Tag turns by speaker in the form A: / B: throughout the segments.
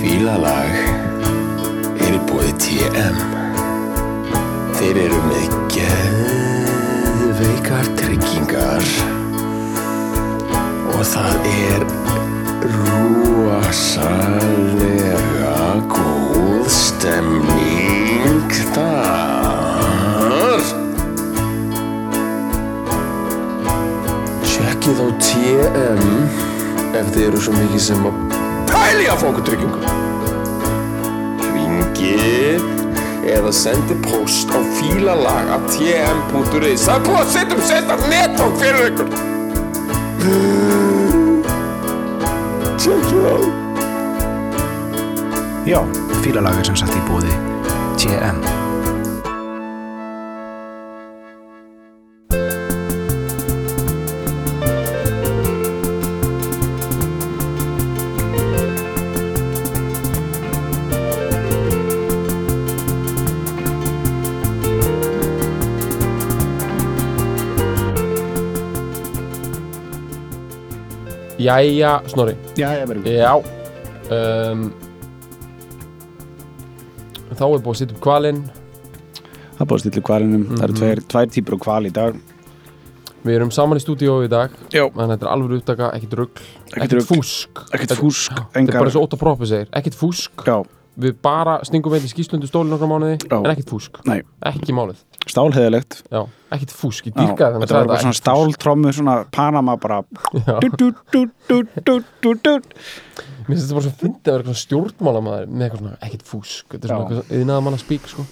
A: Fílalag er í bóði TM Þeir eru með geðveikar tryggingar og það er rúasalega góð stemning þar Tjekkið á TM ef þið eru svo mikið sem að pæli að fá okkur tryggingum ringi eða sendi post á fílalag að tm.is það er búið að setja um setja netfang fyrir ykkur check it out
B: Já, fílalag er sem sagt í bóði TM
C: Jæja, Snorri
B: Já, ég verður
C: Já um, Þá er búið að setja upp kvalinn
B: Það er búið að stilla kvalinum, það eru
C: Mhm.
B: tveir, tvær típur á kval í dag
C: Við erum saman í stúdíó í dag
B: Já.
C: Þannig að þetta er alveg upptaka, ekkert rugl
B: Ekkert rugl.
C: fúsk
B: Ekkert fúsk,
C: Þetta er
B: engar
C: bara eins og Otto Proppi segir Ekkert fúsk
B: Já,
C: Við bara stingum veit í skýslundu stóli nokkra mánuði
B: Já.
C: En ekkert fúsk
B: nei,
C: Ekki málið
B: stálheðilegt
C: Já, ekkert fúsk, ég
B: Já,
C: dýrkaði
B: Þetta var bara svona stáltrommu, svona Panama bara dú, dú, dú, dú, dú, dú, dú.
C: Mér finnst þetta bara svo fyndið að vera eitthvað stjórnmálamaður með eitthvað svona ekkert fúsk Þetta er
B: Já.
C: svona eitthvað yðnaða manna spík sko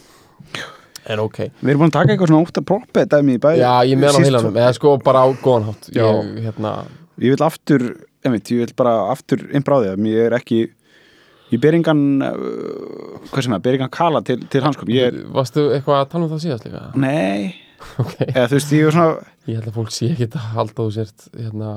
C: En ok
B: Við erum búin að taka eitthvað svona ótt að proppa dæmi í bæði
C: Já, ég meðan á
B: Síst-
C: heilanum, eða sko bara á góðan hátt
B: Já.
C: Ég, hérna,
B: Ég vil aftur, ég veit, ég vil bara aftur innbráðið að mér er ekki Ég ber engan, uh, hvað sem það, ber engan kala til, til hans sko Ég er,
C: varstu eitthvað að tala um það síðast líka?
B: nei,
C: Ok,
B: eða þú veist, ég er svona
C: ég held að fólk sé ekkert að halda þú sért hérna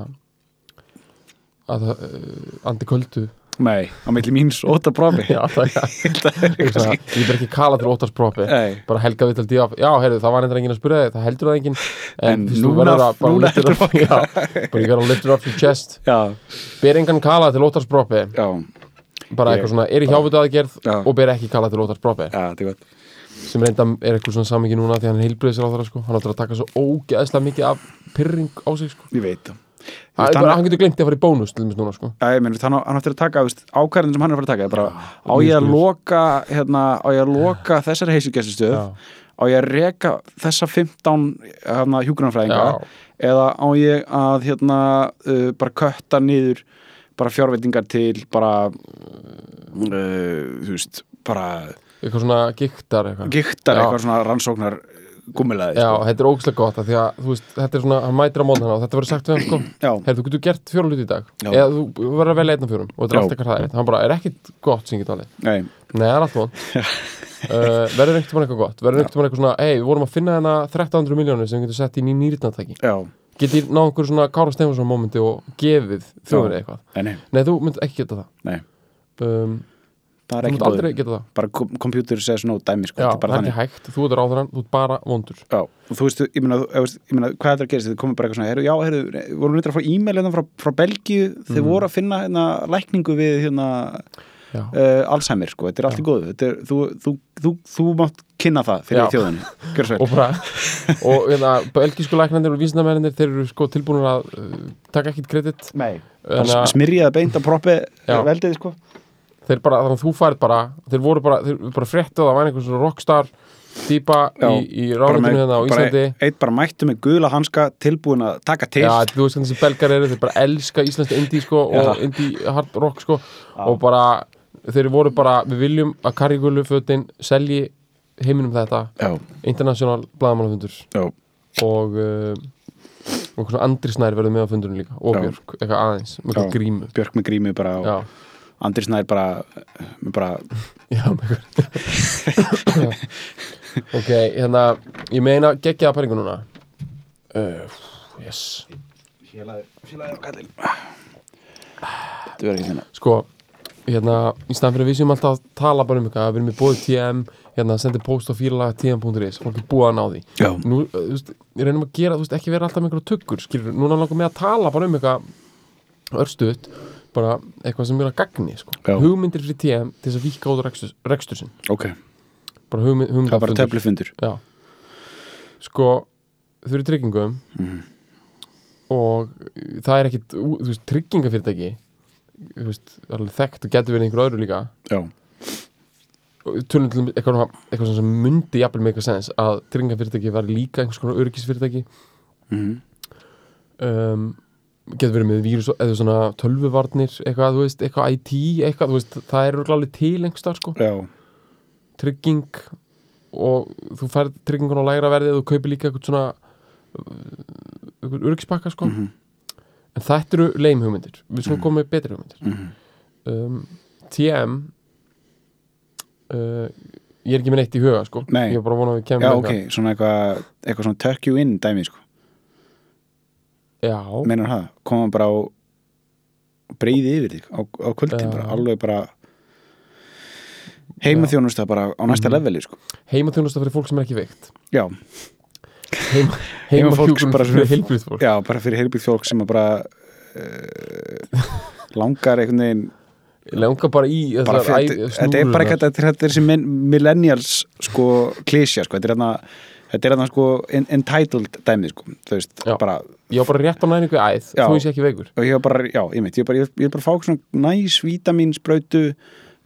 C: að það, uh, andi köldu
B: Nei, á milli míns óta profi
C: Já, það er Svona,
B: Nei,
C: ég ber ekki kala til óttarspropi bara helga vital díaf, já, heyrðu, það var eitthvað enginn að spyrja þig, það heldur það enginn en
B: En
C: fyrst þú
B: núna-
C: verður að bara
B: núna
C: lift it
B: heldur
C: up-
B: fólk
C: já, bara ég verður að lift it up your chest
B: já,
C: ber engan kala til óttarspropi
B: já,
C: bara
B: Ég-
C: eitthvað svona, er í hjáfutu aðgerð
B: Já.
C: og ber ekki kala til óttarspropi
B: já, þetta er gott
C: sem reynda er eitthvað svona samingi núna því hann heilbreyðis á það, sko, hann áttur að taka svo ógeðslega mikið af pyrring á sig, sko
B: Ég veit það
C: hann,
B: Þannig-
C: bara, hann getur glemt að fara í bónus til þess núna, sko
B: Æ, ég meina, þannig að hann áttir að taka veist, ákvæðin sem hann er að fara að taka er bara, á ég að loka hérna, á ég að loka þessari heisugessustöð
C: Já.
B: á ég að reka þessa 15 hérna,
C: Já.
B: hjúgrunarfræðinga eða á ég að hérna, uh, bara kötta niður bara fjárveitingar til bara uh, þú veist, bara
C: eitthvað svona giktar eitthvað
B: giktar
C: Já.
B: eitthvað svona rannsóknar uh, sko? gummilaði
C: Já, þetta er ógeðslega gott af því að þú veist, þetta er svona, hann mætir á móðan og þetta verður sagt við hann sko,
B: Já.
C: heyrðu, þú getur gert fjórum hluti í dag
B: Já.
C: eða þú þú verður að velja einn af fjórum og þetta er
B: Já.
C: alltaf hvað það er, hann bara er ekkit gott sem ég get alveg,
B: Nei,
C: nei, það er allt von uh, verður einhvern tímann eitthvað gott verður einhvern tímann eitthvað svona, hei, við vorum að finna hana 1300 miljónir sem við getum sett inn í nýrnatæki
B: já,
C: getur náð einhver svona Kára Stefánsson momenti og gefið þjóðinni eitthvað
B: nei, nei,
C: nei, þú mynd ekki geta það
B: nei
C: um,
B: það er
C: þú
B: ekki
C: mynd aldrei
B: bóðið
C: geta það
B: bara kom- kompjútur says no dæmi sko,
C: Já,
B: þetta er
C: það
B: bara
C: er ekki
B: þannig
C: hægt, þú ert ráðurann, þú ert bara vondur
B: Já, og þú veist, ég meina, þú- ef þú veist, ég meina hvað þetta er að gerast, þið komið bara eitthvað svona, heru, já, heru, vorum við eitthvað frá e-mail hérna frá, frá Belgíu, þið
C: Mhm.
B: voru að finna hérna lækningu við hérna
C: Já.
B: uh, Alzheimer, sko, þetta er allt í góðu, þetta er, þú, þú, þú, þú mátt kynna það fyrir
C: Já.
B: þjóðinni, gjör svo
C: og
B: vel.
C: bara og hérna, belgísku læknandir og vísindamennir þeir eru sko tilbúin að uh, taka ekkit kredit
B: Nei,
C: en
B: bara
C: að
B: smyrjaði beint að proppi
C: Já.
B: veldið, sko.
C: þeir bara, þannig að þú færð bara þeir voru bara, þeir bara fréttu að það væri einhvers svona rockstar típa
B: Já,
C: í, í ráðunum hérna á
B: bara
C: Íslandi
B: eitt bara mættu með guðla hanska tilbúin að taka til,
C: Já, þú veist hvernig þessi belgar eru, þeir bara elska íslenskt indie sko og indie hard rock sko og bara, þeir voru bara við viljum að karjigulufötin selji heiminum þetta
B: já,
C: international blaðamannafundur
B: já,
C: og uh, og eitthvað svona Andri Snær verður með á fundurinn líka og
B: Já.
C: Björk, eitthvað aðeins, með eitthvað
B: Já.
C: grímu
B: Björk með grími bara
C: já,
B: og Andri Snær bara, eh, með bara,
C: já, með eitthvað ok, hérna ég meina geggjaða pælingu núna uh, yes
B: Þetta verður ekki þennan.
C: sko, hérna, í staðan fyrir að við séum alltaf að tala bara um eitthvað, við erum í bóði TM hérna, sendi post á fílalega tm.is fólk er búið að ná því
B: Já.
C: nú, eh, þú veist, við reynum að gera, þú veist, ekki vera alltaf með einhverju tuggur, skilur, núna langar með að tala bara um eitthvað örstuðt bara eitthvað sem er að gagni sko.
B: Já.
C: hugmyndir fyrir TM til þess að víka út rekstur, rekstur sinn,
B: ok,
C: bara hugmynd, hugmyndir
B: það er bara teflifundur
C: Já Sko, þau eru í tryggingum og það er ekkit, ú- þú veist, tryggingafyrirtæki þú veist, alveg þekkt og getur verið einhver öðru líka
B: já,
C: og tölum til eitthvað, eitthvað sem myndi jafnvel með eitthvað sens að tryggingafyrirtæki var líka einhvers konar öryggisfyrirtæki Mhm. um, getur verið með vírus eða svona tölvuvarnir eitthvað, þú veist, eitthvað IT eitthvað, þú veist, það er örugglega alveg til einhverstaðar sko
B: já,
C: trygging og þú færð tryggingun á lægra verði og þú kaupir líka eitthvað svona uh, eitthvað örgispakka sko
B: Mhm.
C: en þetta eru leim hugmyndir við skulum koma með betri hugmyndir
B: Mhm.
C: um, TM uh, ég er ekki með neitt í huga sko
B: Nei.
C: ég er bara að vona að við kemum
B: já
C: með
B: ok, svona eitthvað eitthvað svona tuck you in dæmi sko
C: já,
B: meinar það, koma bara á breyði yfir þig á, á kvöldin
C: Já.
B: bara, alveg bara heimaþjónusta bara á
C: Mhm.
B: næsta leveli sko.
C: heimaþjónusta fyrir fólk sem er ekki veikt
B: já,
C: Heima,
B: Heimafólks
C: heimahjúkrun
B: bara
C: fyrir
B: svona-
C: heilbrið fólk
B: já, bara fyrir heilbyggt fólk sem að bara uh, langar einhvern veginn
C: langar bara í
B: bara
C: þessar
B: fyrir,
C: æ-
B: þetta er bara
C: snúrurnar.
B: ekki þetta er- þetta er þessi min- millennials sko klísja sko, þetta er hérna þetta er hérna sko en- entitled dæmið sko, þú veist,
C: Já.
B: bara
C: ég á bara rétt á næringu æð,
B: Já.
C: þú veist ég ekki veikur
B: og ég var bara, já, ég veit, ég var bara, ég var bara að fá okkur svona næs vítamin sprautu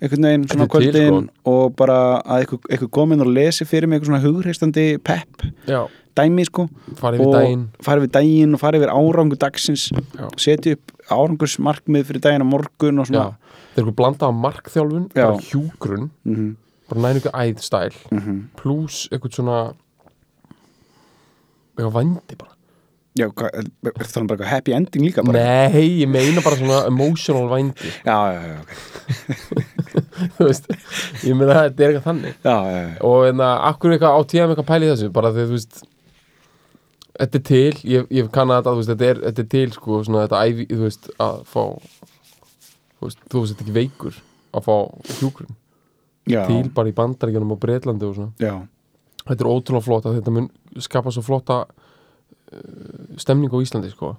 B: einhvern veginn svona
C: Þetta er til, sko.
B: kvöldin og bara að eitthvað, eitthvað komin og lesi fyrir mig eitthvað svona hugreistandi pepp
C: já,
B: dæmi sko
C: farið við
B: og
C: daginn
B: farið við daginn og farið við árangur dagsins
C: Já.
B: setja upp árangursmarkmið fyrir daginn á morgun
C: Já,
B: og svona
C: það er eitthvað blandað af markþjálfun
B: Já.
C: bara hjúgrun,
B: Mhm.
C: bara næri eitthvað æðstæl mm -hmm. pluss eitthvað svona eitthvað vandi bara
B: já, hvað- er er það bara eitthvað happy ending líka bara?
C: Nei, ég meina bara svona emotional vandi
B: já, já, já, okay.
C: þú veist, ég meina þetta er eitthvað þannig
B: já, já, já.
C: og en að akkur eitthvað á tíðan eitthvað pæli þessu bara þegar þú veist þetta er til, ég, ég kann að þetta þú veist, þetta, er, þetta er til sko, svona þetta ævi þú veist, að fá þú veist, þú veist, þetta er ekki veikur að fá hjúgrun
B: já,
C: til bara í bandaríkjunum og Breitlandi og svona
B: já,
C: þetta er ótrúlega flott að þetta mun skapa svo flotta uh, stemning á Íslandi sko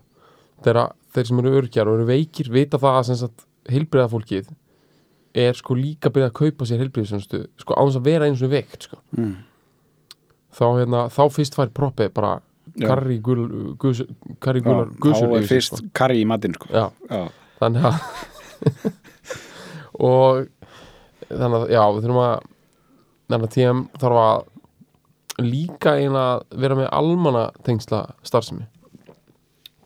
C: þeirra, þeir sem eru örgjar og eru veikir vita það að sem sagt heilbriða fólkið er sko líka byrjað að kaupa sér heilbriðisjónustu sko án þess að vera eins og veikt sko
B: Mm.
C: þá hérna, þá fyrst fær proppið bara
B: Já.
C: karri gul gus- karri
B: já.
C: gular gusur
B: þá er
C: yfir sig,
B: fyrst
C: sko.
B: karri í matinn sko
C: já,
B: já,
C: þannig að og þannig að já, við þurfum að þannig að TM þarf að líka eina að vera með almanna tengsla starfsemi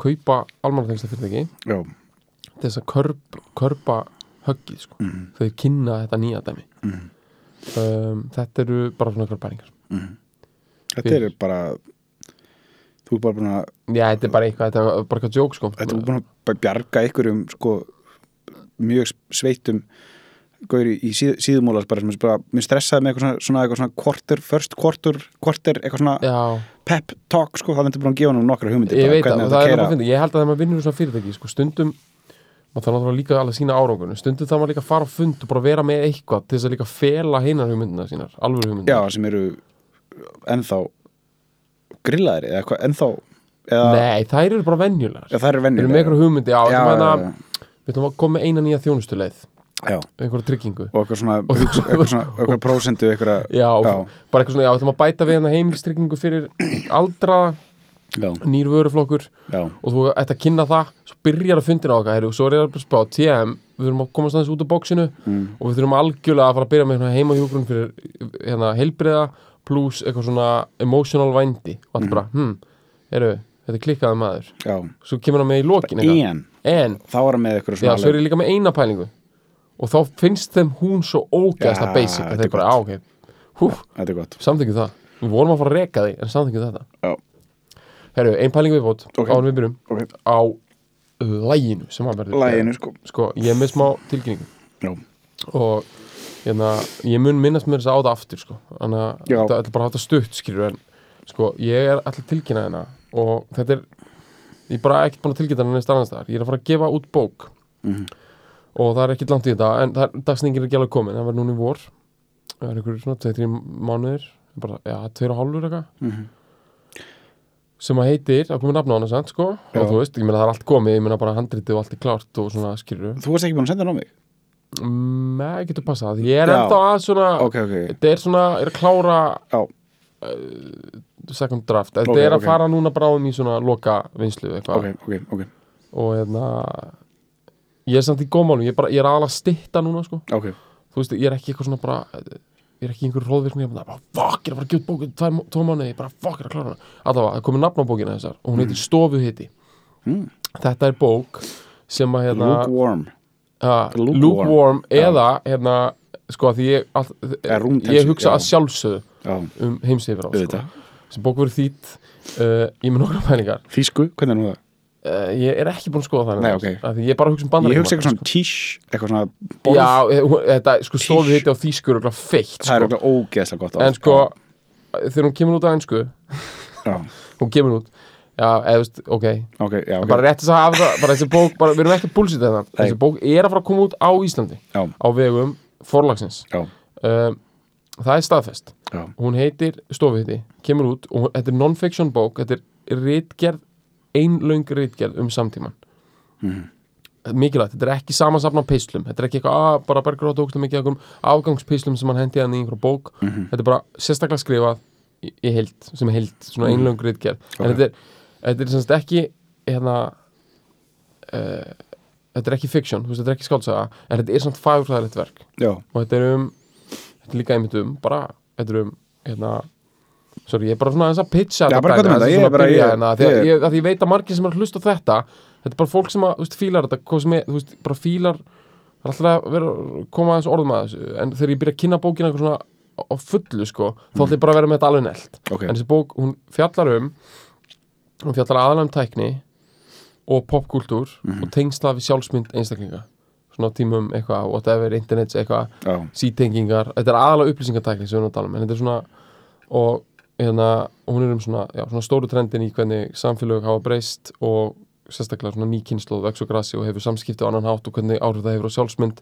C: kaupa almanna tengsla fyrirtæki
B: já,
C: til þess að körp, körpa höggið sko,
B: Mm.
C: þau kynna þetta nýja dæmi um, þetta eru bara svona einhverjar pælingar
B: þetta er bara þú er bara búin að
C: já, þetta er bara eitthvað, þetta er bara eitthvað jók sko
B: Þetta er búin að bara bjarga einhverjum sko, mjög sveittum gauri í síð, síðumólas bara sem er bara, mér stressaði með eitthvað svona, svona, eitthvað svona quarter, first quarter, quarter eitthvað svona
C: já,
B: pep talk sko, það er búin að gefa hann nokkra hugmyndir
C: ég
B: bara,
C: veit
B: hvernig
C: að,
B: þetta
C: það er
B: keyra.
C: bara að finna ég held að þegar maður vinnur svona fyrirtæki sko, stundum, maður þarf náttúrulega líka alveg að sína árangunum, stundum þarf maður líka að fara á fund og bara vera með eitthvað til þess að líka fela hinnar hugmyndina sínar, alvöru
B: Já,
C: hugmyndina
B: sem eru ennþá grillaðir eða hvað, ennþá eða,
C: nei, þær eru bara venjulegar
B: eða það eru
C: við
B: vennir
C: erum með eitthvað hugmyndi, já,
B: Já,
C: já, hana,
B: já, já.
C: við ætlum að koma með eina nýja þjónustuleið
B: Já,
C: einhverja tryggingu
B: og eitthvað svona, eitthvað svona eitthvað prósentu, eitthvað
C: já, og
B: já,
C: bara eitthvað svona, já, við ætlum að bæta við hennar heimilistryggingu fyrir aldra
B: já,
C: nýr vöruflokkur
B: já,
C: og þú ætti að kynna það svo byrjar að fundina á okkar heru, svo er ég að spá TM við þurfum að komast aðeins út úr bóksinu
B: Mm.
C: og við þurfum algjörlega að fara að byrja með hérna heimahjúgrun fyrir hérna heilbriða pluss eitthvað svona emotional vændi og
B: Mm.
C: allt bara, hm, eru þetta er klikkaði maður,
B: já
C: svo kemur hann með í lokin eitthvað.
B: En,
C: en,
B: þá var hann með eitthvað
C: já,
B: svona
C: svo er ég líka með eina pælingu og þá finnst þeim hún svo ógæðsla
B: Já,
C: basic
B: þetta
C: að þeir
B: er
C: bara, á, ok, hú,
B: Þetta er gott,
C: samþykjum það við vorum að fara að reka því, en samþykjum þetta
B: já
C: Herru, ein pæling viðbót
B: Ok.
C: okay. áður en við byrjum
B: Ok.
C: á læginu sem að verður
B: Læginu, sko.
C: Sko, ég er með smá tilkynningu
B: Já,
C: og hérna, ég mun minnast mér þess að á það aftur sko. þannig að
B: Já.
C: þetta er bara að hafa þetta stutt skilur en sko, ég er alltaf tilkynnað hérna og
B: Mhm.
C: þetta er ég er bara ekki búin að tilkynna hérna neist annars þar ég er að fara að gefa út bók og það er ekki langt í þetta en það er dagsningin er ekki alveg komin, það var núna í vor það er einhverjum svona 2-3 mánuðir bara, já, 2,5 eitthvað
B: Mhm.
C: sem að heitir, það er komið nafn á hana sant, sko,
B: Já.
C: og þú veist, ég meina það er allt komið ég meina bara handritið og allt er klárt og svona skilur
B: Þú varst ekki búin að senda hann á mig?
C: með, getur passað, ég er
B: Já.
C: enda að svona,
B: Ok, ok,
C: þetta er svona er að klára
B: já,
C: second draft, þetta
B: Ok,
C: er að
B: ok.
C: fara núna bráðum í svona loka vinslu eitthvað
B: ok, ok, ok,
C: og hérna ég er samt í góðmálum, ég er, bara, ég er aðalega að stitta núna sko.
B: ok,
C: þú veist, ég er ekki eitthvað svona bara ég er ekki í einhverju hróðvirkni, ég er bara, fuck, ég er að fara að gefa út bókið tvær, mó- tvo mánuði, ég er bara, fuck, ég er að klára hana allavega, það er komið nafn á bókina þessar og hún heitir Stofuhiti
B: Mm.
C: þetta er bók sem að hérna,
B: lukewarm
C: Ha,
B: Lukewarm.
C: lukewarm eða hérna, sko að því ég, all,
B: Eða rúmtensju,
C: ég hugsa
B: já.
C: að sjálfsögðu
B: Já,
C: um heimsifrá sko.
B: Auðvitað.
C: sem bók verið þýtt uh, ég með nokkra pælingar
B: þýsku, hvernig er nú það?
C: uh, ég er ekki búin að skoða það
B: Nei,
C: nefnilega,
B: ok.
C: af því ég er bara að hugsa um
B: Ég
C: bandaríkjumann
B: hugsa eitthvað svona quiche, eitthvað svona borð
C: já, eh, hún- þetta, sko stofið hitti á þýskur og feitt
B: Það
C: sko.
B: er eitthvað ógeðslega gott orð,
C: en sko, þegar hún kemur út á ennsku
B: Já,
C: hún kemur út já, eða veist, ok,
B: ok, já, ok
C: bara rétt þess að hafa það bara þessi bók, bara, við erum ekki að búlsita þetta
B: Nei.
C: þessi bók er að fara að koma út á Íslandi
B: Já,
C: á vegum forlagsins
B: já,
C: um, það er staðfest
B: já,
C: hún heitir Stofiðti, kemur út og hún- þetta er non-fiction bók, þetta er rítgerð, einlöng rítgerð um samtíman mm. mikilvægt, þetta er ekki samansafn á peyslum þetta er ekki eitthvað, að, bara bergur á tókstum ekki einhverjum afgangspeyslum sem hann hendi hann í einhverjum bók þetta er bara sérstaklega skrifað í, í heild, sem heild, svona einlöng rítgerð en
B: Ok.
C: þetta er, þetta er semst ekki hérna uh, þetta er ekki fiction, þú veist, þetta er ekki skálsaga en þetta er samt fagurfræðilegt verk
B: já,
C: og þetta er um þetta er líka einmitt um bara þetta er um hérna sorry, ég er bara svona aðeins að pitcha
B: Já,
C: þetta
B: bara
C: dæmi,
B: gott um
C: aðeins
B: þetta, ég
C: svona
B: er bara-
C: að byrja
B: ég-
C: hérna, af því að
B: ég-
C: ég, að ég veit að margir sem er að hlusta á þetta þetta er bara fólk sem að, þú veist, fílar þetta hvað sem er, þú veist, bara fílar það er alltaf að vera, koma aðeins orðum að þessu en þegar ég byrja að kynna bókina eitthvað svona á- á fullu, sko, þá ætla ég bara að vera með þetta alveg nelt
B: ok
C: en þessi bók, hún fjallar um hún fjallar aðalega um tækni og popkultúr
B: Mhm.
C: og tengsla við sjálfsmynd einstaklinga svona á tímum eitthvað, whatever, internets eitthvað
B: Já,
C: sítengingar, þetta er aðalega upplýsingatækni sem við erum að tala um, en þetta er svona og hérna, hún er um svona, já, svona stóru trendin í hvernig samfélög hafa breyst og sérstaklega svona nýkynnslóð vex og grasi og hefur samskipti á annan hátt og hvernig áhrif það hefur á sjálfsmynd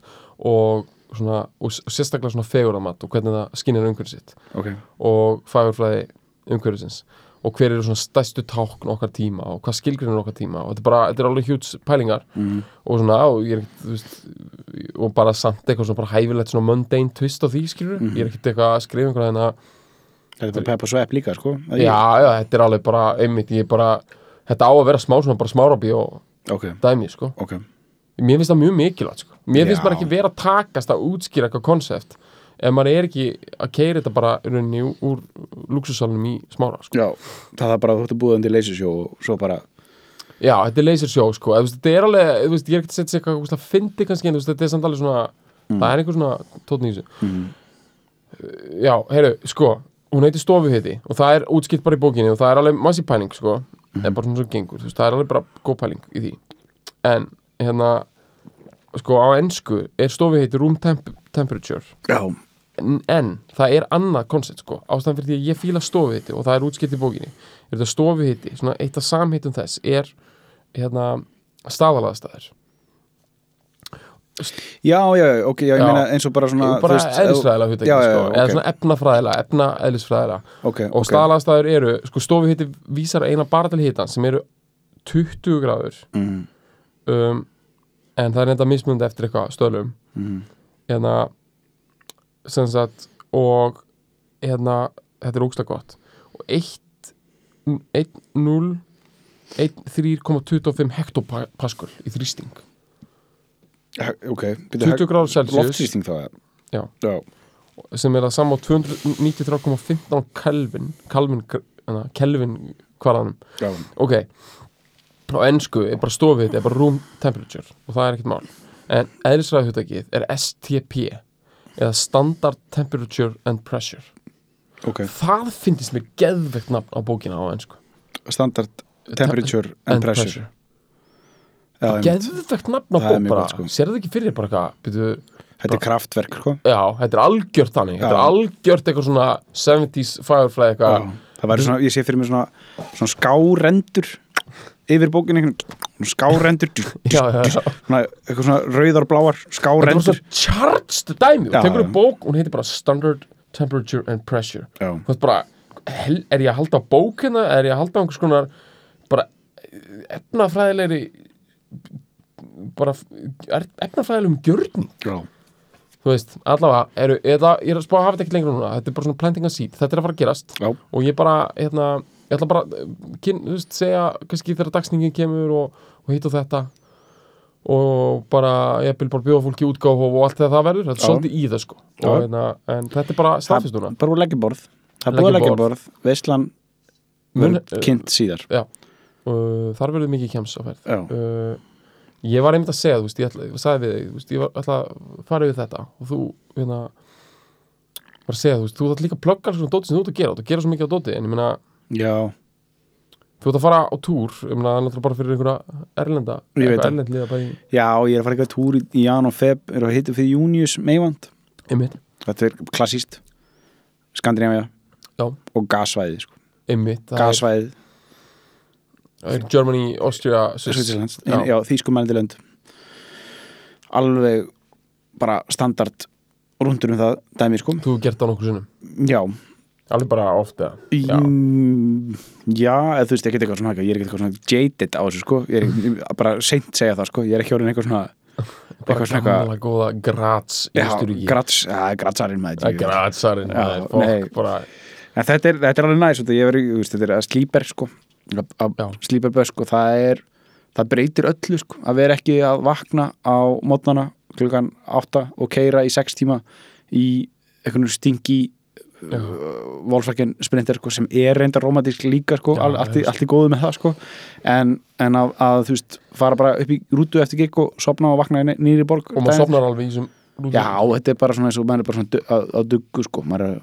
C: og svona, og s- sérstaklega svona fegurðamatt og hvernig það skinnir umhverju sitt
B: ok
C: og fagurfræði umhverfisins og hver eru svona stærstu tákn okkar tíma og hvað skilgrinir okkar tíma og þetta er bara, þetta er alveg hjúts pælingar
B: Mhm.
C: og svona, og ég er ekkert, þú veist og bara samt eitthvað svona bara hæfilegt svona mundane twist á því skilur
B: Mhm.
C: ég er ekkert eitthvað að skrifa einhverja þennan
B: Þetta er bara pepp og svepp líka, sko að ég-
C: já, já, þetta er alveg bara, einmitt, ég er bara þetta á að vera smá svona bara smárabí og
B: Ok,
C: dæmi, sko
B: ok,
C: mér finnst það mjög mikilvægt, sko mér finnst
B: Já.
C: maður ekki vera að takast að útskýra eitthvað konsept ef maður er ekki að keira þetta bara í rauninni úr, úr luxusalunum í smára, sko
B: já Það er bara að þú ert að búið undir leysisjó og svo bara
C: Já, þetta er lasersjó, sko eða, þú veist, Þetta er alveg, þú veist, ég er ekki að setja sér eitthvað þú veist, að fyndi kannski, en þú veist, þetta er samt alveg svona það er einhver svona tótt nýsu mm. Já, heyru, sko hún heitir stofuhiti og það er útskilt bara í bókinni og það er alveg massi pæling, sko mm. en bara svona svo gengur, þú veist, það er alveg bara góð pæling í því, en hérna sko á ensku er stofuhiti room temp temperature
B: Já,
C: en, en það er annað koncept sko, ástæðan fyrir því að ég fíla stofuhiti og það er útskipt í bókinni er þetta stofuhiti, svona eitt af samheitum þess er hérna staðalaðastæður
B: já, já, ok, já, ég
C: Já.
B: meina eins og bara svona
C: bara
B: þú veist,
C: eðlisfræðilega
B: ef-
C: hugtæki
B: Já,
C: sko,
B: já,
C: eða
B: já,
C: svona efnafræðilega, efna eðlisfræðilega
B: ok, ok,
C: og
B: ok
C: staðalaðastæður eru, sko stofuhiti vísar eina bara til hitan sem eru 20 gráður
B: Mhm.
C: um, en það er enda mismunandi eftir eitthvað stöðlum
B: Mhm.
C: hérna sem sagt og hérna, þetta er ógsta gott og 1.0 3,25 hektopaskul í þrýsting
B: He- Ok,
C: 20 gráður Celsius.
B: Loftrýsting þá,
C: Já.
B: já
C: sem er að sama á 293,15 kelvin kelvin, hérna, kelvin hvaðanum
B: Já,
C: ok á ennsku er bara stofið þetta er bara room temperature og það er ekkert mál en eðlisræðhugtakið er STP eða Standard Temperature and Pressure
B: ok
C: það finnst mér geðvegt nafn á bókina á ennsku
B: Standard temperature and pressure Já, einmitt.
C: geðvegt nafn á
B: Það er
C: bók
B: mjög
C: bara
B: gott, sko.
C: sérðu ekki fyrir þér bara eitthvað byrju,
B: Þetta er kraftverk, sko
C: já, þetta er algjört þannig þetta er
B: Já.
C: algjört eitthvað svona 70s firefly
B: Já,
C: eitthvað
B: það væri svona, ég sé fyrir mig svona, svona skárendur yfir bókinni einhvern- svona skárendur djú, djú,
C: Já, já, já.
B: svona, eitthvað svona rauðar og bláar
C: Þetta var
B: skárendur
C: svo charged dæmi
B: Já,
C: og tekur
B: já.
C: upp bók, hún heitir bara Standard Temperature and Pressure
B: Já.
C: Þú veist bara, hel, er ég að halda á bókina er ég að halda á einhvers konar bara efnafræðilegri bara er- efnafræðilegum gjörning
B: já,
C: þú veist, allavega, eru, eða, ég er að spá að hafa þetta ekki lengra núna, þetta er bara svona planting að seed þetta er að fara að gerast
B: já,
C: og ég bara, hérna, ég ætla bara eh, kyn, þú veist, segja, kannski þegar dagsningin kemur og, og hitt og þetta og bara, ég vil bara bjóða fólki í útgáf og allt þegar það verður, þetta er
B: Já.
C: svolítið í það sko
B: Já.
C: og, hérna, en þetta er bara staðfist núna
B: bara úr leggjaborð það er búið að
C: Leggja
B: leggjaborð, veislan
C: Mun-
B: verður kynnt síðar
C: já, uh, þar verður mikið kjems á ferð
B: Já.
C: uh, ég var einmitt að segja, þú veist, ég, ætla, ég sagði við þig, þú veist, ég var- ætla að fara yfir þetta og þú, hérna var að segja, þú veist, þú ætla líka að plugga alls svona dóti sem þú ert að gera, þú ert að gera svo mikið á dóti en ég meina,
B: já,
C: þú ert að fara á túr ég meina, það er náttúrulega bara fyrir einhverja erlenda
B: Ég veit
C: einhverja
B: það.
C: erlend liða bara í
B: já, ég er að fara eitthvað túr í, í jan og feb er að hitta fyrir Június meivand
C: einmitt,
B: þetta er klassíst Skandinavia
C: já,
B: og gasvæði sko.
C: einmitt það er-
B: gasvæði,
C: það er Germany, Austria,
B: Svíðslands
C: já,
B: já, þýskumælandi lönd alveg bara standard rundur um það dæmi sko
C: þú hefur gert það nokkur sinnum
B: já,
C: alveg bara ofta já,
B: Mm, Já, eða þú veist, ég get eitthvað svona ég er ekki eitthvað svona jaded á þessu sko ég er bara seint segja það sko ég er ekki orðin eitthvað svona
C: bara
B: eitthvað svona eitthvað
C: gamla góða Graz í Östuríki
B: Já, grats, ja, gratsarinn maður djú.
C: Grazarinn,
B: Já,
C: það er
B: nei.
C: fólk bara
B: En þetta er, þetta er alveg næs, þetta, ég veri, þú veist, þetta er að slíper sko að-
C: Já.
B: að slíper börs sko, það er það breytir öllu sko, að vera ekki að vakna á mótnana klukkan 8 og keira í 6 tíma í einhvern stingi volfsvækjan sprinter sko, sem er reyndar romantísk líka sko,
C: Já,
B: all, allt, í,
C: já,
B: allt í góðu með það sko. en, en að, að þú veist fara bara upp í rútu eftir gig og sopna og vakna í nýri borg
C: og maður
B: daginn-
C: sopnar alveg í þessum rútum.
B: já, þetta er bara svona eins og maður er bara svona dö- á, á duggu sko, maður er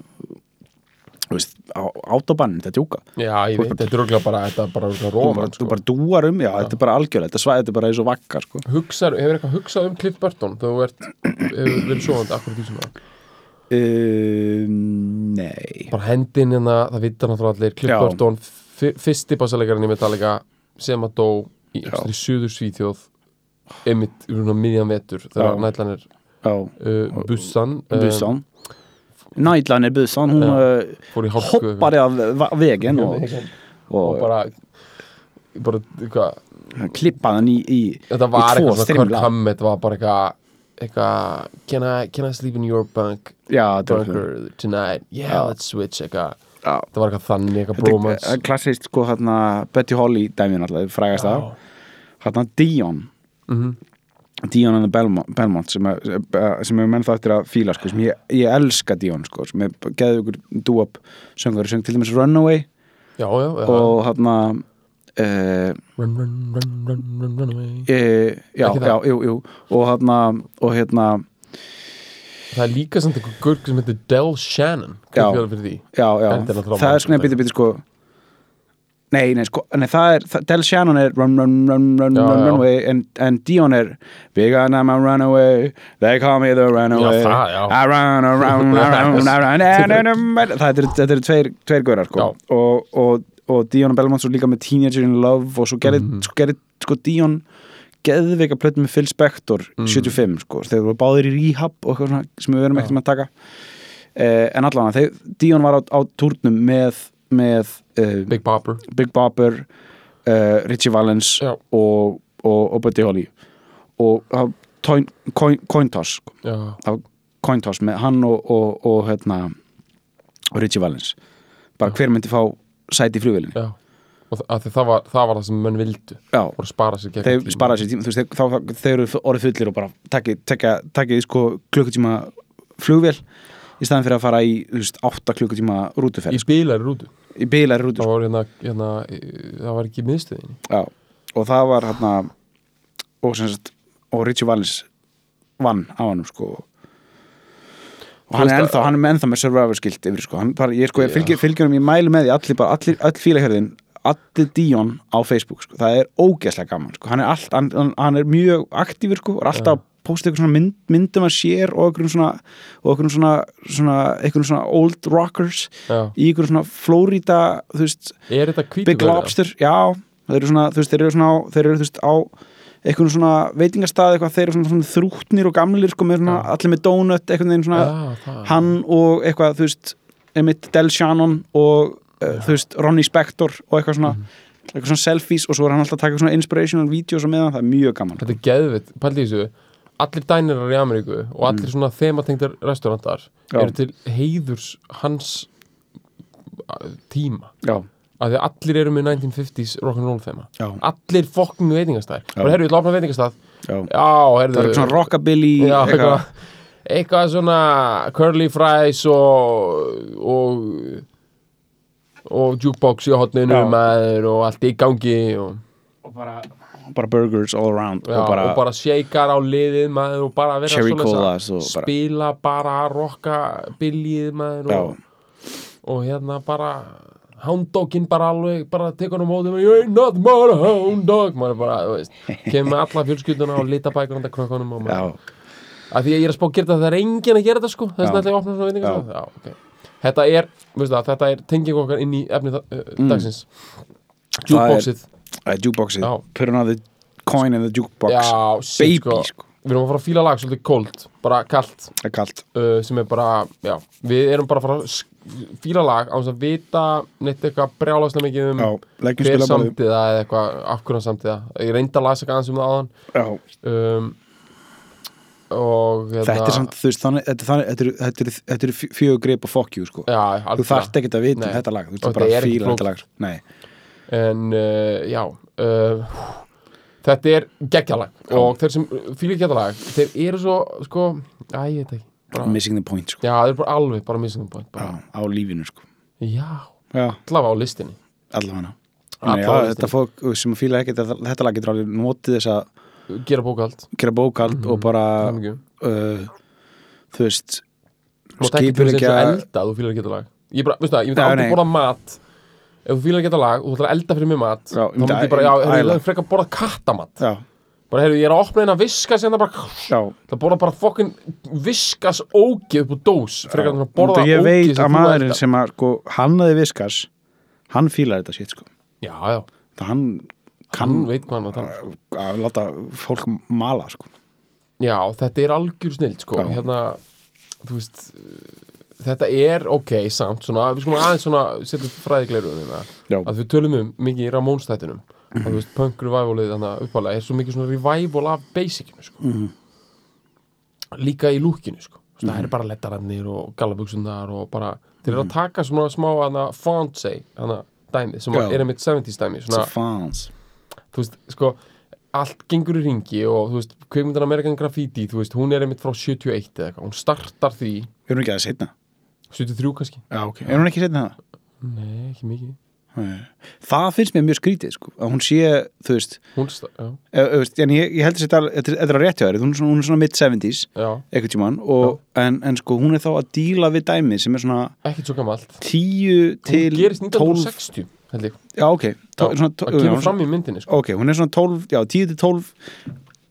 B: þú veist, á átobannin, þetta er júka
C: já, ég veit, þetta er örgulega bara þetta er bara örgulega
B: þú bara,
C: róman
B: þú
C: sko.
B: bara dúar um, já, þetta er bara algjörlega þetta svæði, þetta er bara eins og vakka sko.
C: Hugsar, hefur eitthvað hugsað um Cliff Burton þegar þú ert, hefur verið svoðandi akkur því sem það
B: um, nei
C: bara hendin hérna, það vita náttúrulega allir Cliff
B: Já.
C: Burton, fyr- fyrsti bassalegarinn í Metallica sem að dó í,
B: Já.
C: í suður Svíþjóð einmitt í rúna miðjan vetur þegar
B: Já.
C: nætlan er
B: já,
C: uh, bussan,
B: busan Nælan er busan, hún
C: Já.
B: uh,
C: fór í hálku
B: hoppar af va- veginn og,
C: og
B: og,
C: bara, bara hvað,
B: og klippaðan í, í
C: þetta var
B: í
C: eitthvað
B: tvo
C: svona Kirk
B: strimla
C: Hammett var bara eitthvað eitthvað, can, I- can I sleep in your bunk
B: já, þetta var svona-
C: bunker tonight yeah,
B: Já.
C: let's switch eitthvað,
B: já.
C: það var eitthvað þannig eitthvað
B: Þetta
C: bromance
B: er klassist sko þarna Betty Holly dæmin alltaf, frægast það þarna Dion
C: Mhm.
B: Dion and the Belmont, Belmont sem, er, sem er menn það eftir að fíla sko, sem ég, ég elska Dion sko, sem er geðið ykkur dúab söngur, söng til dæmis Runaway
C: já, já, já
B: og hérna, þarna uh,
C: run, run, run, run, run, run away
B: e, já,
C: Ekki það?
B: já, jú, jú og þarna, og hérna
C: það er líka samt einhver gurk sem heitir Del Shannon
B: Já.
C: hvað fyrir því
B: já, já,
C: Þetta er náttúrulega
B: það er
C: mannskapur.
B: svona býti, býti sko nei, nei, sko, nei, það er það, Del Shannon er run, run, run, run,
C: Já,
B: run,
C: já.
B: runaway en, en Dion er big and I'm a runaway they call me the runaway
C: Já, það, já.
B: I run around, around, around and, and, and, það eru- þetta eru tveir, tveir gaurar sko. og, og, og Dion og Belmont svo líka með Teenager in Love og svo gerði,
C: Mhm.
B: sko, gerði sko, Dion geðveika plötu með Phil Spector
C: Mm.
B: 75 sko, þegar þú var báðir í Rehab og eitthvað svona sem við verum ekkert með að taka uh, en allan að Dion var á, á túrnum með, með uh, Big.
C: Big Popper
B: Bopper uh, Richie Valens
C: Já.
B: og, og, og Buddy Holly og það var coin, coin toss sko
C: já,
B: á coin toss með hann og, og, og hérna og Richie Valens bara hver myndi fá sæti í flugvélini
C: já og það, af því það, var, það var það sem menn vildu
B: já,
C: voru að spara sér gegn
B: þeir
C: tíma.
B: sparaði sér tíma þú veist, þeir, þá- þá, þeir eru orðið fullir og bara takkið taka, taka, sko klukkutíma flugvél í staðan fyrir að fara í þú veist, 8 klukkutíma rútuferð
C: í bílar rútu
B: í bílar rútu
C: það
B: sko.
C: var, hérna, hérna, eh, það var ekki í miðstöðinni
B: Já. og það var hérna og, sem sagt, og Richie Valens vann á hann sko og hann er
C: Þú veist
B: ennþá, hann er með ennþá með Survivor skilt yfir sko, hann bara, ég sko, ég fylgir, fylgir um ég mælu með því, allir bara, allir, all fílahjörðin allir Dion á Facebook sko, það er ógeðslega gaman, sko, hann er allt hann, hann- hann er mjög aktífur, sko, og er alltaf að posta eitthvað svona mynd, myndum að sér og eitthvað svona, og eitthvað svona, svona eitthvað svona old rockers
C: Já.
B: í eitthvað svona Florida, þú veist
C: er þetta hvítu
B: Big Lobster, já þeir eru svona, þú veist, þeir eru svona á, þeir eru þú veist á einhvern svona veitingastað eitthvað, þeir eru svona, svona þrútnir og gamlir sko með svona,
C: Já.
B: allir með donut einhvern veginn svona,
C: Já, það.
B: hann og eitthvað, þú veist Emmett Del Shannon og uh, þú veist, Ronnie Spector og eitthvað svona
C: Mhm.
B: eitthvað svona selfies og svo er hann alltaf að taka svona inspirational videos og meðan, það er mjög gaman
C: Þetta er geðvitt, pældi í þessu Allir dænirar í Ameríku og allir svona þematengdar restaurantar
B: Mm. Já.
C: eru til heiðurs hans uh, tíma
B: Já,
C: að því að allir eru með 1950s rock'n'roll þema
B: Já.
C: allir fokkin veitingastæðir
B: Já.
C: bara herru, við lopna veitingastæð
B: já
C: já, herru,
B: Það er eitthvað svona rockabilly
C: já,
B: eitthvað.
C: eitthvað, eitthvað svona curly fries og og, og jukebox í hotninu
B: Já.
C: maður og allt í gangi og,
B: bara burgers all around
C: já,
B: og bara,
C: shakear á liðið maður og bara vera
B: Cherry
C: svoleiðis að
B: colas og bara-
C: spila bara rocka billið maður
B: já,
C: og, og hérna bara hounddoginn bara alveg bara tekur hann á móti you ain't nothing but a hound dog maður er bara, þú veist, kemur með alla fjölskylduna og litabækur handa krökkunum og
B: já,
C: maður að því að ég er að spá að gera þetta, það er enginn að gera þetta sko þess
B: Já.
C: að ætla ég að opna svona veitingastæð Já, ok. þetta er, veistu það, þetta er tengið okkar inn í efni uh,
B: Mm.
C: dagsins jukeboxið,
B: uh, jukeboxið
C: Já.
B: put another coin in the jukebox
C: já, shit, sko.
B: baby sko,
C: við erum að fara að fíla lag svolítið cold, bara kalt
B: það er kalt
C: uh, sem er bara, já, við erum bara að fara að sk- fíla lag á þess að vita neitt eitthvað brjálaslega mikið um
B: já, leggjum
C: hver
B: spila bara
C: samtíða eða eitthvað, af hverju hann samtíða ég reyndi að lasa kannski um það áðan
B: já,
C: um, og hérna,
B: þetta er samt, þú veist, þannig þetta er þannig- þetta eru- þetta eru- þetta eru fjö- fjögur grip og fuck you sko
C: já,
B: þú þarft ekkert að vita um
C: Nei.
B: þetta lag þú
C: Og
B: veist bara
C: þetta er
B: að
C: ekki
B: fíla
C: flókið.
B: þetta lag nei,
C: en uh, já uh, þetta er geggjalag og þeir sem fílir geggjalag þeir eru svo sko æ, ég veit ekki bara,
B: missing the point sko
C: já, þeir eru bara alveg bara missing the point
B: já,
C: bara,
B: á lífinu sko
C: já,
B: já,
C: allavega á listinni
B: allavega
C: Alla
B: já,
C: á listinni.
B: þetta fólk sem fíla ekkert þetta- þetta lag getur alveg notið þess að
C: gera bókald
B: gera bókald
C: Mhm,
B: og bara
C: hamingju.
B: uh, þú veist
C: Mátt ekki fyrir þess
B: skipuleggja-
C: að elda ef þú fílar að geta lag Ég bara, veistu það, ég myndi
B: Já,
C: aldrei
B: nei.
C: borða mat Ef þú fílar að geta lag og þú ætlar að elda fyrir mig mat
B: Já, ég
C: Þá
B: myndi
C: myndi
B: að-
C: ég bara, já, heyrðu,
B: æla.
C: ég er frekar að borða kattamat
B: já,
C: Bara, heyrðu, ég er að opna eina viska sem það bara
B: já
C: Það borða bara fokkin viskas ógið upp úr dós Frekar en að borða
B: Þetta ég
C: ógið
B: veit
C: sem
B: að
C: þú
B: maðurinn
C: elda
B: sem að sko, hannaði viskas hann fílar þetta shit sko
C: Já, já,
B: það hann kann
C: hann veit hvað hann að tala um.
B: að láta fólk mala sko
C: Já, þetta er algjör snild, sko
B: Já.
C: Hérna, þú veist Þetta er ok, samt, svona, við skulum aðeins svona, setjum fræðigleiruðum hérna.
B: já,
C: að við tölum um mikið í Ramónstættinum að þú veist, punk revivalið þannig að uppálega er svo mikið svona revival af basicinu sko.
B: Mhm.
C: líka í lúkinu sko. mm það er bara lettarannir og gallabuxundar og bara, þeir
B: Mhm.
C: eru að taka svona smá hana, fonse, hana, dæmi sem
B: Já.
C: er einmitt 70s dæmi
B: it's a
C: svona,
B: fans
C: þú veist, sko allt gengur í ringi og þú veist kveikmyndan American Graffiti, þú veist, hún er einmitt frá 71 eða eitthvað, hún startar því
B: er hún ekki að setna?
C: 73 kannski,
B: Já, ok. er hún ekki setna það?
C: nei, ekki mikið
B: Nei. það finnst mér mjög skrítið sko að hún sé, þú veist,
C: hún, sta- já,
B: e, e, veist en ég, ég heldur þetta alveg- þetta er- þetta er að réttja þær hún er svona, hún er svona mid-70s
C: já,
B: eitthvað tímann og, en, en sko hún er þá að díla við dæmi sem er svona
C: ekkert svo gamalt
B: 10
C: hún
B: til
C: gerist
B: 12
C: 1960 held ég
B: já ok,
C: Já,
B: Tó- svona, tó-
C: það
B: já,
C: kemur
B: svona-
C: fram í myndinni sko.
B: ok, hún er svona 12, já, 10 til 12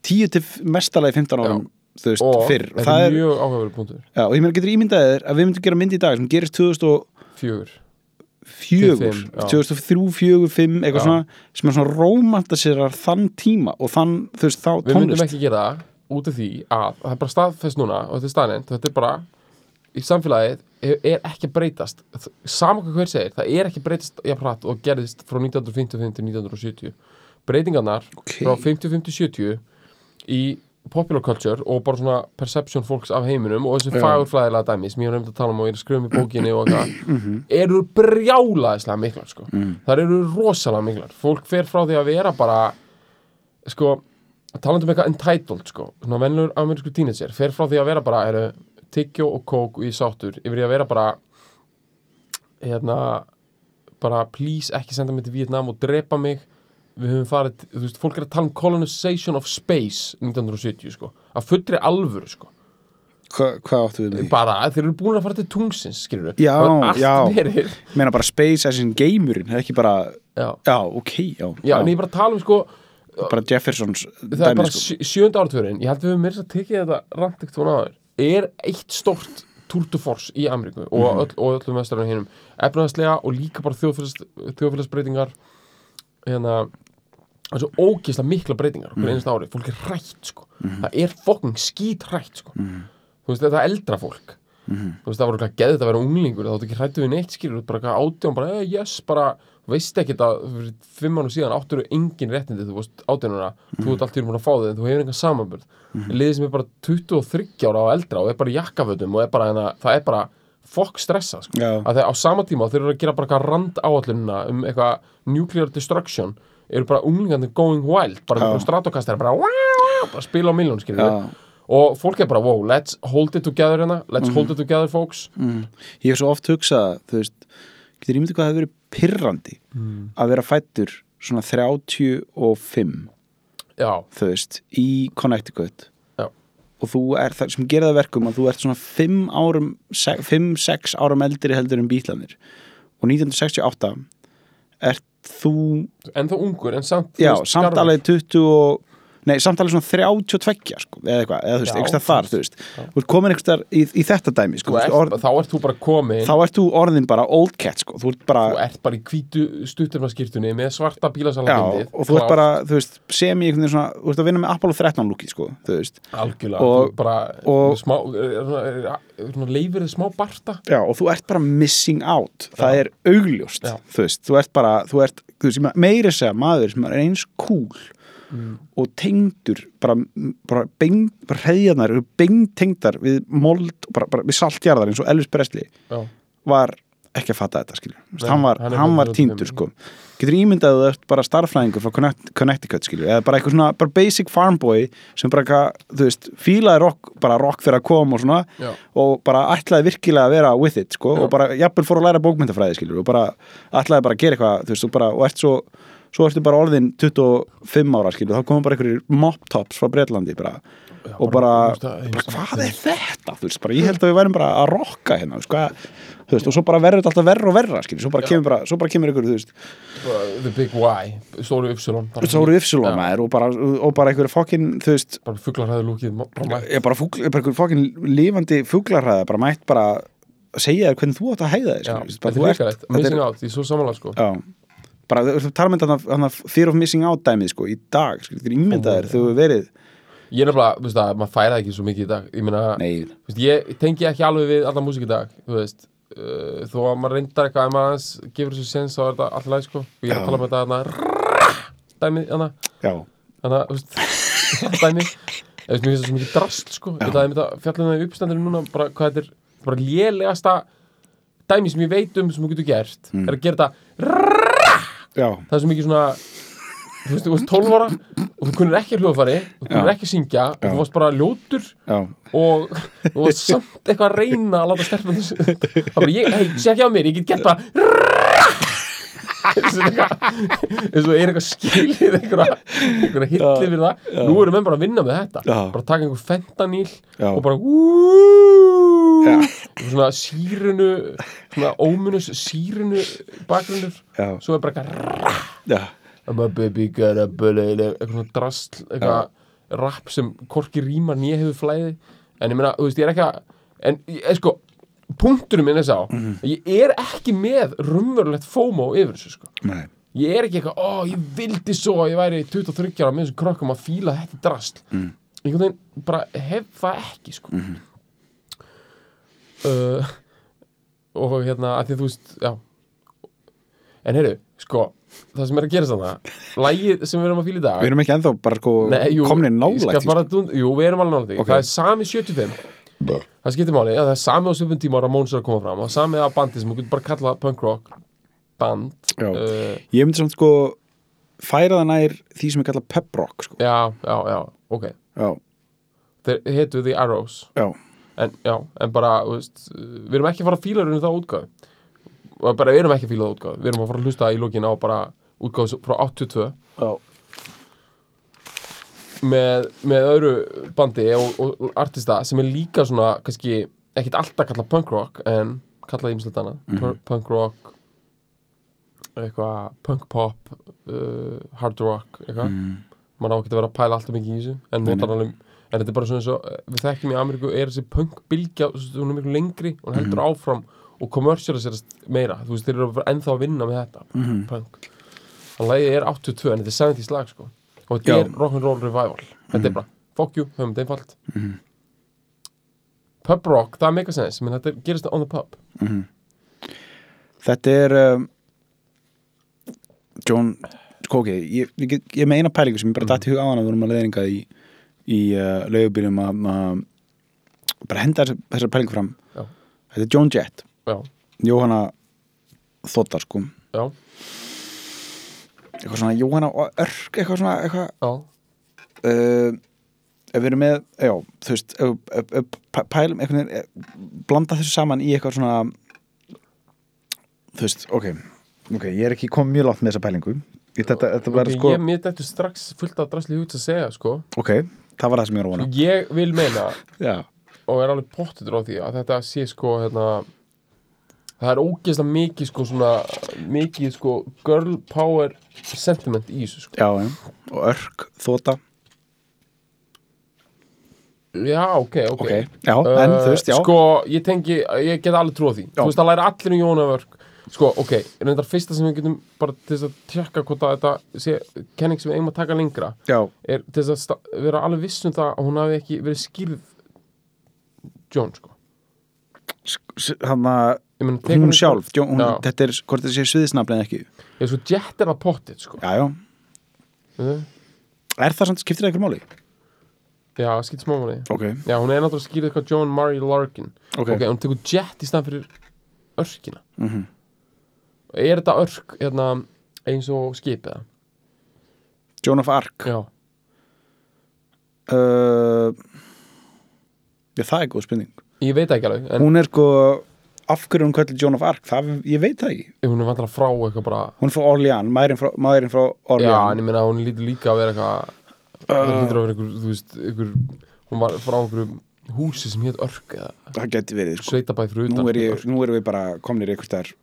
B: 10 til mestalagi 15 árum þú veist,
C: og
B: fyrr og,
C: þetta
B: það
C: er
B: er,
C: mjög áhugaverið punktur
B: já, og ég meina getur ímyndað þér að við myndum gera mynd í dag sem gerist 2004
C: fjögur, 25, já.
B: 2003, 4, 5, eitthvað
C: Já.
B: svona sem er svona rómantasérar þann tíma og þann, þú veist, þá
C: við myndum
B: tónlist
C: ekki gera það út af því að það er bara staðfest núna og þetta er staðnend, þetta er bara í samfélagið er- er ekki að breytast saman hvað hver segir, það er ekki að breytast ég pratt og gerðist frá 1955 til 1970 breytingarnar
B: Ok.
C: frá 50-50-70 í popular culture og bara svona perception fólks af heiminum og þessi fagurflæðilega dæmi sem ég var nefnd að tala um og ég er að skrifa um í bókinni og eitthvað
B: Mhm.
C: eru brjálaðislega miklar sko.
B: Mm.
C: þar eru rosalega miklar fólk fer frá því að vera bara sko, talandi um eitthvað entitled sko, svona vennlur amerísku teenager fer frá því að vera bara, eru tyggjó og kók og í sáttur, yfir í að vera bara hérna bara please ekki senda mig til Vietnam og drepa mig við höfum farið, þú veist, fólk er að tala um colonization of space 1970 sko, að fullri alvöru sko
B: Hva, hvað áttu við með því?
C: bara, þeir eru búin að fara til tungsins skilur
B: Já,
C: allt
B: já.
C: verið
B: meina bara Space Assassin Gamerin, það er ekki bara
C: já,
B: já, ok, já,
C: já, en ég er bara að tala um sko
B: bara Jeffersons
C: það er
B: dæmi,
C: bara
B: sko.
C: sko. sjönda ártvörin ég held við höfum meira þess að tekið þetta rangt ekkert hún áður er eitt stórt tour de force í Ameríku og,
B: Mhm.
C: öll, og öllum vestarinn hinnum efnaðslega og líka bara þjóðfélags, þjóðfélagsbreytingar hérna það er svo ógeðslega mikla breytingar
B: Mhm.
C: okkur einasta ári, fólk er hrætt sko það er fokking skít hrætt sko þú veist, þetta er eldra fólk
B: Mhm.
C: þú veist, það var eitthvað geðið að vera unglingur þá áttu ekki hrættu við neitt skilur, þú ert bara eitthvað átján bara, eh, yes, bara, þú veist ekki að fyrir fimm mánu síðan áttur engin réttindi þú veist, átjánuna, þú
B: Mhm.
C: ert allt í einu búin að fá þið en þú hefur engan samanbörð liðið sem er bara 23 ára og eldra og er bara í jakkafötum og er bara, hana, það er bara fokk stressa, sko,
B: Já.
C: að þegar á sama tíma þeir eru að gera bara eitthvað rand áallunna um eitthvað nuclear destruction eru bara unglingandi going wild bara, bara stratokastar, bara, wow, wow, bara spila á miljón, skilur
B: Já.
C: og fólk er bara, wow, let's hold it together hérna, let's
B: Mhm.
C: hold it together folks
B: mm. ég hef svo oft hugsað þú veist, getur ímyndið hvað það hefur verið pirrandi
C: Mm.
B: að vera fættur svona 35
C: já,
B: þú veist, í Connecticut
C: já,
B: og þú er það sem gerir það að verkum að þú ert svona 5 árum 5-6 árum eldri heldur en bítlanir og 1968 ert þú
C: en þá ungur en samt þú
B: já,
C: veist,
B: samt
C: skarfur.
B: alveg 20 og Nei, samt alveg svona 32 sko, eða eitthvað, eða þú veist,
C: Já.
B: einhverstað þar, þú veist Þú ert komin einhverstað í, í þetta dæmi
C: Þú
B: sko, þú
C: ert,
B: veist, orð,
C: þá ert þú bara komin
B: þá ert þú orðin bara old cat sko, þú ert bara
C: þú ert bara í hvítu stutturmaskýrtunni með svarta
B: já,
C: bílasalagindi
B: og þú ert bara, þú veist, sem ég einhvern veginn svona, þú ert að vinna með Apollo 13 lúki sko, þú veist,
C: algjörlega, þú
B: og-
C: ert bara
B: og-
C: smá, eh, er- er- er- er- leifir þið smá barta
B: já, og þú ert bara missing out, það
C: Já.
B: er augljóst
C: Já.
B: þú veist, þú ert bara, þú ert þú veist, ég meina, meiri segja maður sem er eins cool
C: Mm.
B: og tengdur bara, bara, bein, bara reyðanar eru beintengdar við mold, bara, bara við saltjarðar eins og Elvis Presley
C: já,
B: var ekki að fatta þetta skilur Nei,
C: Nei,
B: hann var,
C: hann er
B: hann var
C: bara
B: týndur
C: þrjóttur.
B: sko getur ímyndað að þú ert bara starffræðingur frá Connect- Connecticut skilur eða bara eitthvað svona bara basic farm boy sem bara eitthvað, þú veist, fílaði rock bara rock fyrir að koma og svona
C: Já.
B: og bara ætlaði virkilega að vera with it sko
C: Já.
B: og bara jafnvel fór að læra bókmyndafræði skilur og bara ætlaði bara að gera eitthvað þú veist og bara og ert svo svo ertu bara orðin 25 ára skilur þá komum bara einhverjir mop tops frá Breitlandi bara og bara,
C: bara-
B: bara hvað er þetta þú veist, bara, ég held að við værum bara að rokka hérna þú veist, hvað, þú veist, og svo bara verður þetta alltaf verra og verra skilur, svo bara kemur bara, svo bara kemur ykkur þú veist,
C: bara the big Y, stóru ypsilon
B: svo eru yfsula maður og bara, og bara ykkur fokkin, þú veist
C: bara fuglarhæði lúkið bara
B: ég bara, fugl, bara ykkur fokkin lifandi fuglarhæða bara mætt bara að segja þér hvernig þú átt að hæða þér
C: Já, þetta er
B: skilur, þú veist, bara þú
C: hrikalegt,
B: þetta
C: missing
B: er-
C: out, ég er svo samanlega sko
B: já, bara þú þú talar með þetta hann að fear of missing out dæmið sko, í dag skilur, þú ímyndaðir, þú hefur verið
C: Ég er nefnilega, þú veist það, maður færa ekki svo mikið í dag Ég meina,
B: Nei.
C: þú veist, ég tengi ekki alveg við alla músík í dag Þú veist, uh, þó að maður reyndar eitthvað ef maður aðeins gefur þessu sens þá er þetta alltaf læg sko Og ég er að tala með þetta þarna Dæmið, þarna,
B: já,
C: þarna, þú veist Dæmið, þú veist, mér finnst það svo mikið drast sko Ég ætlaði með þetta fjallum það í uppstandinu núna bara hvað þetta er, bara lélegasta dæmi sem ég veit um sem þú getur gert
B: Mm.
C: er að gera þetta
B: já,
C: það er svo mikið svona þú veist, þú varst 12 ára og þú kunnir ekki hljóðfæri þú kunnir
B: Já.
C: ekki syngja og
B: Já.
C: þú varst bara ljótur
B: já,
C: og þú varst samt eitthvað að reyna að láta stelpa þessu það bara, ég, hei, sé ekki á mér, ég get gert það eins og eitthvað eins og er eitthvað skilið einhverja, einhverja hitli fyrir það nú eru menn bara að vinna með þetta
B: Já.
C: bara taka einhver fentaníl
B: Já.
C: og bara úúúú
B: Já.
C: svona sírunu svona ómunus sírunu bakgrunnur
B: Já.
C: svo er bara eitthvað
B: já,
C: I'm a baby got a bullet eitthvað svona drasl, eitthvað rap sem korki rímar nýja hefur flæði en ég meina, þú veist, ég er ekki að en ég, eh, sko, punkturinn minn er sá ég er ekki með rumverulegt FOMO yfir þessu, sko
B: nei
C: ég er ekki eitthvað, ó, ég vildi svo að ég væri 23 ára með þessum krökkum að fíla þetta drasl mm. einhvern veginn bara hef það ekki, sko
B: Mhm.
C: uh, og hérna, að því þú veist, já en heyrðu, sko það sem er að gera sann það lægið sem við erum að fíla í dag
B: Við erum ekki ennþá bara sko
C: Nei, jú,
B: komnir
C: ég skal
B: nálægt sko.
C: bara dún- Jú, við erum alveg nálægt því
B: Ok.
C: Það er sami 75 Það skiptir máli, já, það er sami á 7 tíma Ramóns er að koma fram og sami að bandi sem þú getur bara kalla punk rock band
B: Já.
C: uh,
B: Ég myndi samt sko færa það nær því sem ég kalla pep rock sko.
C: já, já, já, ok
B: Já,
C: Þeir hitu The Arrows
B: já,
C: en, já, en bara, þú veist, uh, við erum ekki að fara að fíla raunum það útgáð bara við erum ekki að fíla það útgáð við erum að fara að hlusta í lokin á bara útgáð frá 82
B: já.
C: með, með öðru bandi og, og artista sem er líka svona kannski, ekkit alltaf kallað punk rock en kallað ýmislegt annað Pur- punk rock eitthvað punk pop uh, hard rock eitthvað maður á ekki að vera að pæla alltaf mikið í þessu en, notar alveg, en þetta er bara svona eins og eh, við þekkjum í Ameríku er þessi punk bylgja hún er miklu lengri og hún heldur áfram og kommersialiserast meira, þú veist þeir eru ennþá að vinna með þetta punk en lagið er 82 en þetta er 70s lag sko og þetta
B: Já. Mhm.
C: er rock'n'roll revival þetta er bara, fuck you, höfum þetta einfalt pub rock, það er mega sens menn þetta gerist on the pub
B: Þetta er um, John sko, okay, ég, ég, get- ég er með eina pælingu sem ég bara datt í hug á hana við vorum að leiðinga í, í uh, laugubílum að að bara henda þessar, þessar pælingu fram
C: Já.
B: Þetta er John Jett,
C: já,
B: Jóhanna Þóttar sko,
C: já,
B: eitthvað svona Jóhanna og Örk, eitthvað svona eitthvað,
C: já,
B: uh, ef við erum með, já, þú veist ef, ef, ef, pæ- pælum, einhvern veginn eh, blanda þessu saman í eitthvað svona þú veist, ok ok, ég er ekki komið mjög látt með þessa pælingu Ég- þetta, þetta var
C: Ég-
B: sko,
C: ég mér dættu strax fullt af drasli hútt að segja sko
B: ok það var það sem ég er að vona
C: ég vil meina
B: já,
C: og er alveg pottitur á því að þetta sé sko hérna það er ógeðslega mikið sko svona mikið sko girl power sentiment í þessu sko
B: já, já. og örk, þóta,
C: já ok ok,
B: ok já, en þú veist, já,
C: sko ég tengi ég get alveg trú á því
B: Já.
C: þú veist það læra allir um Jónavörk sko ok reyndar fyrsta sem við getum bara til þess að tjekka hvort að þetta sé kenning sem við eigum að taka lengra
B: já,
C: er til þess að sta- vera alveg viss um það að hún hafi ekki verið skýrð Jón sko
B: hann að
C: Ég meina, tekur
B: hún sjálf, Jón, hún,
C: Já.
B: þetta er, hvort þetta sé sviðisnafni eða ekki,
C: ég sko jett er að pottið sko
B: já, já
C: Veistu?
B: er það samt, skiptir það einhver máli?
C: Já, skýt smá máli
B: ok,
C: Já, hún er náttúrulega skýrið eitthvað John Murray Larkin
B: Ok. Mhm.
C: hún tekur Jet í stand fyrir örkina -hmm. Er þetta örk hérna, eins og skipið? eða?
B: Joan of Arc
C: Já,
B: uh, já, það er góð spurning
C: ég veit ekki alveg En hún,
B: hún er sko af hverju hún kallir Joan of Arc það, ég veit það ekki,
C: hún er vantilega frá eitthvað bara
B: hún er frá Orlean maðurinn frá, maðurinn frá
C: Já, en
B: Uh. Orlean
C: ég meina hún lítur líka að vera eitthvað Það lítur að vera einhver, þú veist einhver, Hún var frá einhverju húsi sem hétt örk eða
B: það geti verið sko.
C: sveitabæð fyrir utan
B: nú, er ég,
C: örk.
B: nú erum við bara komnir einhvers staðar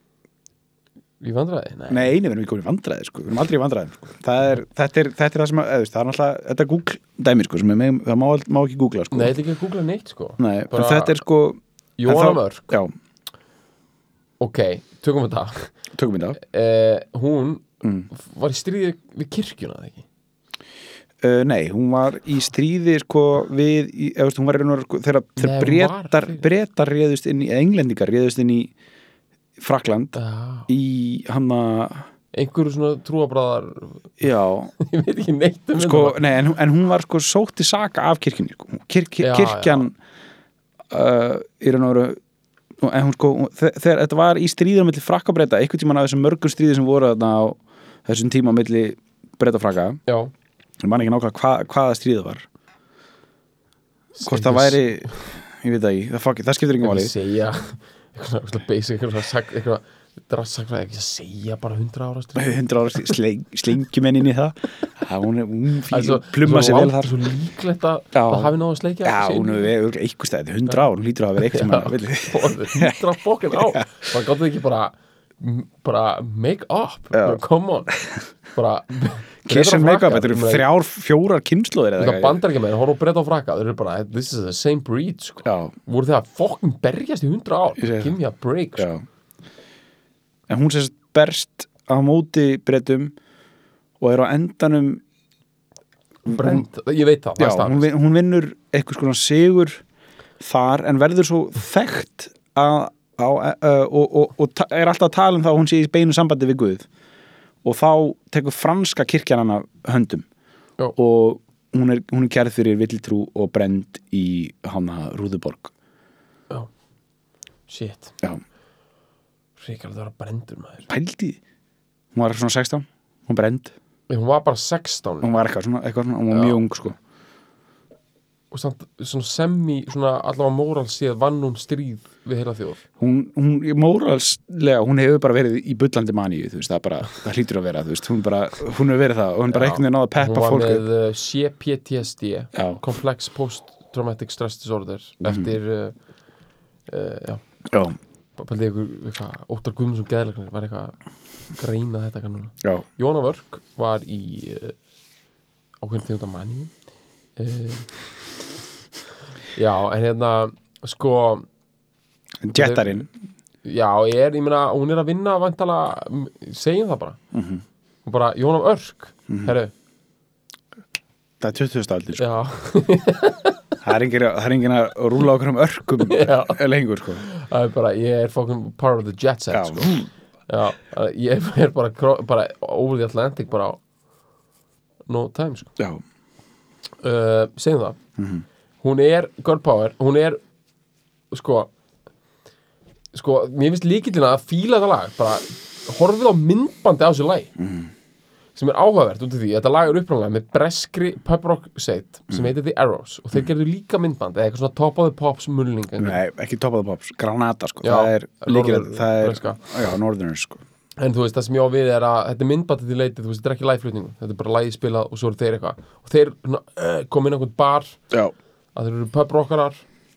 C: Ég vandræði? Nei,
B: nei, einu verðum við komin í vandræði sko. við erum aldrei í vandræði sko. það er, þetta, er, þetta er það sem að, eða, þú veist, það er alltaf, þetta er Google dæmi sko, sem er, með- það má, ald- má ekki googla sko.
C: Nei, þetta er ekki að googla neitt sko
B: Nei, en
C: Bara-
B: þetta er sko en
C: Jóhanna
B: þá-
C: Mörk.
B: já,
C: Ok, tökum þetta
B: tökum við það
C: eh, hún
B: Mm.
C: var í stríði við kirkjuna eða ekki
B: Uh, nei, hún var í stríði sko við, í, eða veist, hún var einar sko, þegar,
C: Nei,
B: þegar
C: hún var
B: breytar,
C: stríði.
B: breytar réðust inn í, eða englendingar réðust inn í Frakland
C: ah.
B: í hann að,
C: einhverju svona trúabræðar
B: já
C: ég veit ekki neitt um
B: sko,
C: þetta.
B: nei, en, en hún var sko sótt í saka af kirkjunni, sko, Hún- kir, kir,
C: Já,
B: kirkjan uh, í raun og veru en hún sko, hún- þe- þegar þetta var í stríðum milli frakka breyta, einhvern tímann af þessum mörgum stríði sem voru þarna á þessum tíma milli breyta frakka,
C: já
B: ég man ekki nákvæmlega hva, hvaða stríðið var hvort það væri ég veit það ekki, það, fuck, það skiptir ekki
C: ekki
B: máli
C: að segja eitthvað svona- eitthvað basic eitthvað svona sak- eitthvað drassakra ekki að segja bara 100 ára stríð
B: 100 ára sleng, slengjum henni inn í það það hún, er- hún fíl,
C: Það er svo-
B: plumma
C: svo
B: sér vel
C: langt-
B: þar
C: svo líklegt að
B: Já.
C: það hafi náðu að sleikja
B: já, hún hefur verið eitthvað stæði 100 ára, hún lítur að hafa verið eitthvað villi.
C: hundra bókin á það gáttu þið ekki bara m- bara make up,
B: Já.
C: come on bara
B: kiss and make up, þetta eru
C: Ég meina,
B: þrjár, fjórar kynnslóðir eða
C: Þetta
B: eitthvað
C: bandar ekki með, horf og breyta á frakka Þeir eru bara, this is the same breed sko.
B: Já.
C: Voru þeir að fokkin berjast í hundra ár
B: Ég segi
C: Give me a break sko.
B: Já. en hún sérst berst á móti breytum og er á endanum
C: Brend, sko. Ég veit það,
B: já,
C: það
B: hún,
C: er
B: vin- hún vinnur eitthvað skona sigur þar en verður svo þekkt að, á, uh, og, og, og ta- er alltaf að tala um það að hún sé í beinu sambandi við Guð og þá tekur franska kirkjan hana höndum
C: Já.
B: og hún er, hún er kærð fyrir villitrú og brend í hana Rúðuborg
C: staðan Shit,
B: já,
C: ríkar það var að brendur maður
B: pældi því. hún var svona 16, hún brend
C: Nei, Hún var bara 16
B: hún var eitthvað svona, eitthvað svona hún var
C: Já.
B: mjög ung sko
C: Og samt, svona semi, svona allavega móral séð Vann hún stríð við heila þjóð
B: hún, hún móralslega, hún hefur bara verið í bullandi maníu, þú veist, það bara það hlýtur að vera, þú veist, hún bara, hún hefur verið það og hún bara einhvern veginn náða að
C: Hún
B: peppa
C: var
B: fólk
C: með uh, CPTSD
B: Já. Mhm.
C: Complex Post-Traumatic Stress Disorder Eftir uh, uh, Já,
B: já,
C: bara pældi ykkur eitthvað, Óttar Guðmundsson geðleiknir var eitthvað að greina þetta eitthvað núna
B: já,
C: Jóna Vörk var í uh, ákveðin þjónda manni uh, Já, en hérna sko,
B: jetarinn
C: já, ég er, ég meina hún er að vinna vantala, segjum það bara og bara Jón af Örk herru,
B: það er 20. aldur sko.
C: já,
B: það er engin að- það er engin að rúla okkur um örkum
C: Já.
B: lengur sko.
C: það er bara ég er fucking part of the jet set
B: Já.
C: sko. já, að ég er bara, kró- bara over the Atlantic bara á- no time sko.
B: Já.
C: uh, segjum það hún er girl power, hún er sko sko, mér finnst líkillina að fíla þetta lag bara horfið á myndbandi á þessu lag sem er áhugavert út af því þetta lag er uppræðanlega með breskri pub rock set sem heitir The Arrows og þeir gerðu líka myndband eða eitthvað svona top of the pops mulling
B: Nei, ekki Top of the Pops, Granada sko.
C: Já,
B: það er líkir
C: norður-
B: það er,
C: breska.
B: já, norðurnir sko.
C: En þú veist, það sem ég á við er að þetta er myndbættið í leiti, þú veist, þetta er ekki lægflutningu þetta er bara lægi spilað og svo eru þeir eitthvað og þeir svona, uh, kom inn á einhvern bar
B: já,
C: að þeir eru pubrockarar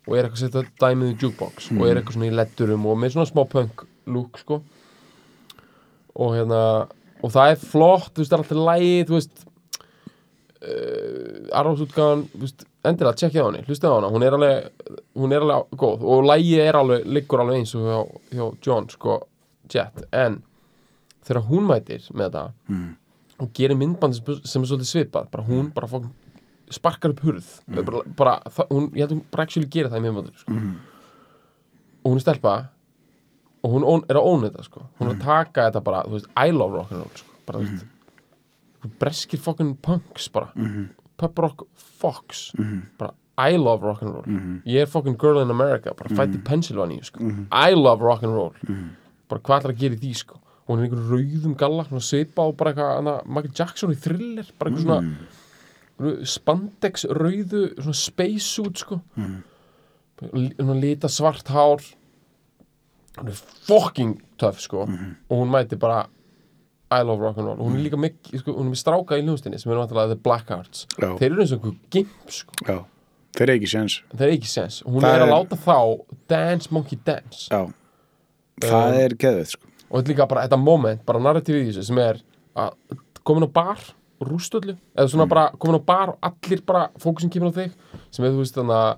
C: og er eitthvað að setja dæmið í jukebox og er eitthvað svona í letturum og með svona smá punk look, sko og hérna, og það er flott þú veist, það er alltaf lægi, þú veist uh, Arnámsútgáðan þú veist, endilega, tjekkið á henni, hlustið á hana hún er alveg, hún er alveg góð og lægi er alveg, liggur alveg eins og hjá, hjá John, sko, Jet en þegar hún mætir með þetta og gerir myndband sem, sem er svolítið svipað bara hún bara fók, sparkar upp hurð bara, bara, það, hún, ég held hún bara actually gerir það í myndbandur sko. og hún er stelpa og hún on, er að óna þetta sko. hún er að taka þetta bara, þú veist, I love rock'n'roll sko. bara, þú veist breskir fucking punks bara pub rock fox bara I love rock'n'roll mm ég er fucking girl in America, bara fætt í Pennsylvania sko. I love rock'n'roll mm bara hvað ætlar að gera í því sko og hún er einhver rauðum galla, svona svipa og bara eitthvað, hana, Michael Jackson í thriller bara einhver svona mm. spandex rauðu, svona space út sko mm.
B: Mhm.
C: hún lita svart hár hún er fucking töff sko
B: Mhm.
C: og hún mæti bara I love rock'n'roll og hún er líka mikið, sko, hún er með stráka í hljóðstinni sem eru vantilega The Blackhearts
B: Já.
C: þeir eru eins og einhver gimp sko
B: já þeir eru ekki séns
C: það er ekki sens, hún
B: Það
C: er að
B: er-
C: láta þá dance monkey dance
B: já, það er geðveit sko.
C: og þetta er líka bara þetta moment, bara narratífið í þessu sem er að komin á bar og rúst öllu, eða svona
B: Mhm.
C: bara komin á bar og allir bara fókusin kemur á þig sem er þú veist þannig að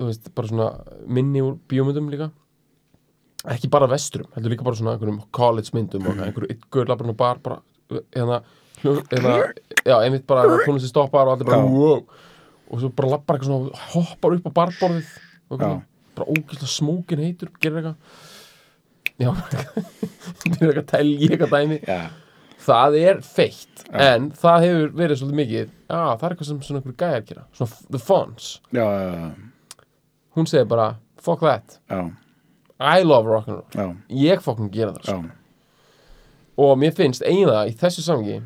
C: þú veist, bara svona minni úr bíómyndum líka ekki bara vesturum, heldur líka bara svona einhverjum college myndum og einhverju ykkur labrun og bar bara, eða eða, já, einmitt bara tónlist stoppar og allir bara,
B: Já.
C: wow og svo bara lappar eitthvað svona, hoppar upp á barborðið og eitthvað,
B: Já.
C: svona, bara ógæslega smókin heitur, gerir eitthvað Já, byrja eitthvað að telja í eitthvað dæmi
B: já,
C: Það er feitt, en það hefur verið svolítið mikið Já, það er eitthvað sem svona einhver gæjar gera Svona f- The Fonz,
B: já, já,
C: hún segir bara Fuck that,
B: já,
C: I love rock'n'roll
B: já,
C: Ég fucking gera það
B: já.
C: sko. Og mér finnst eiginlega í þessu samhengi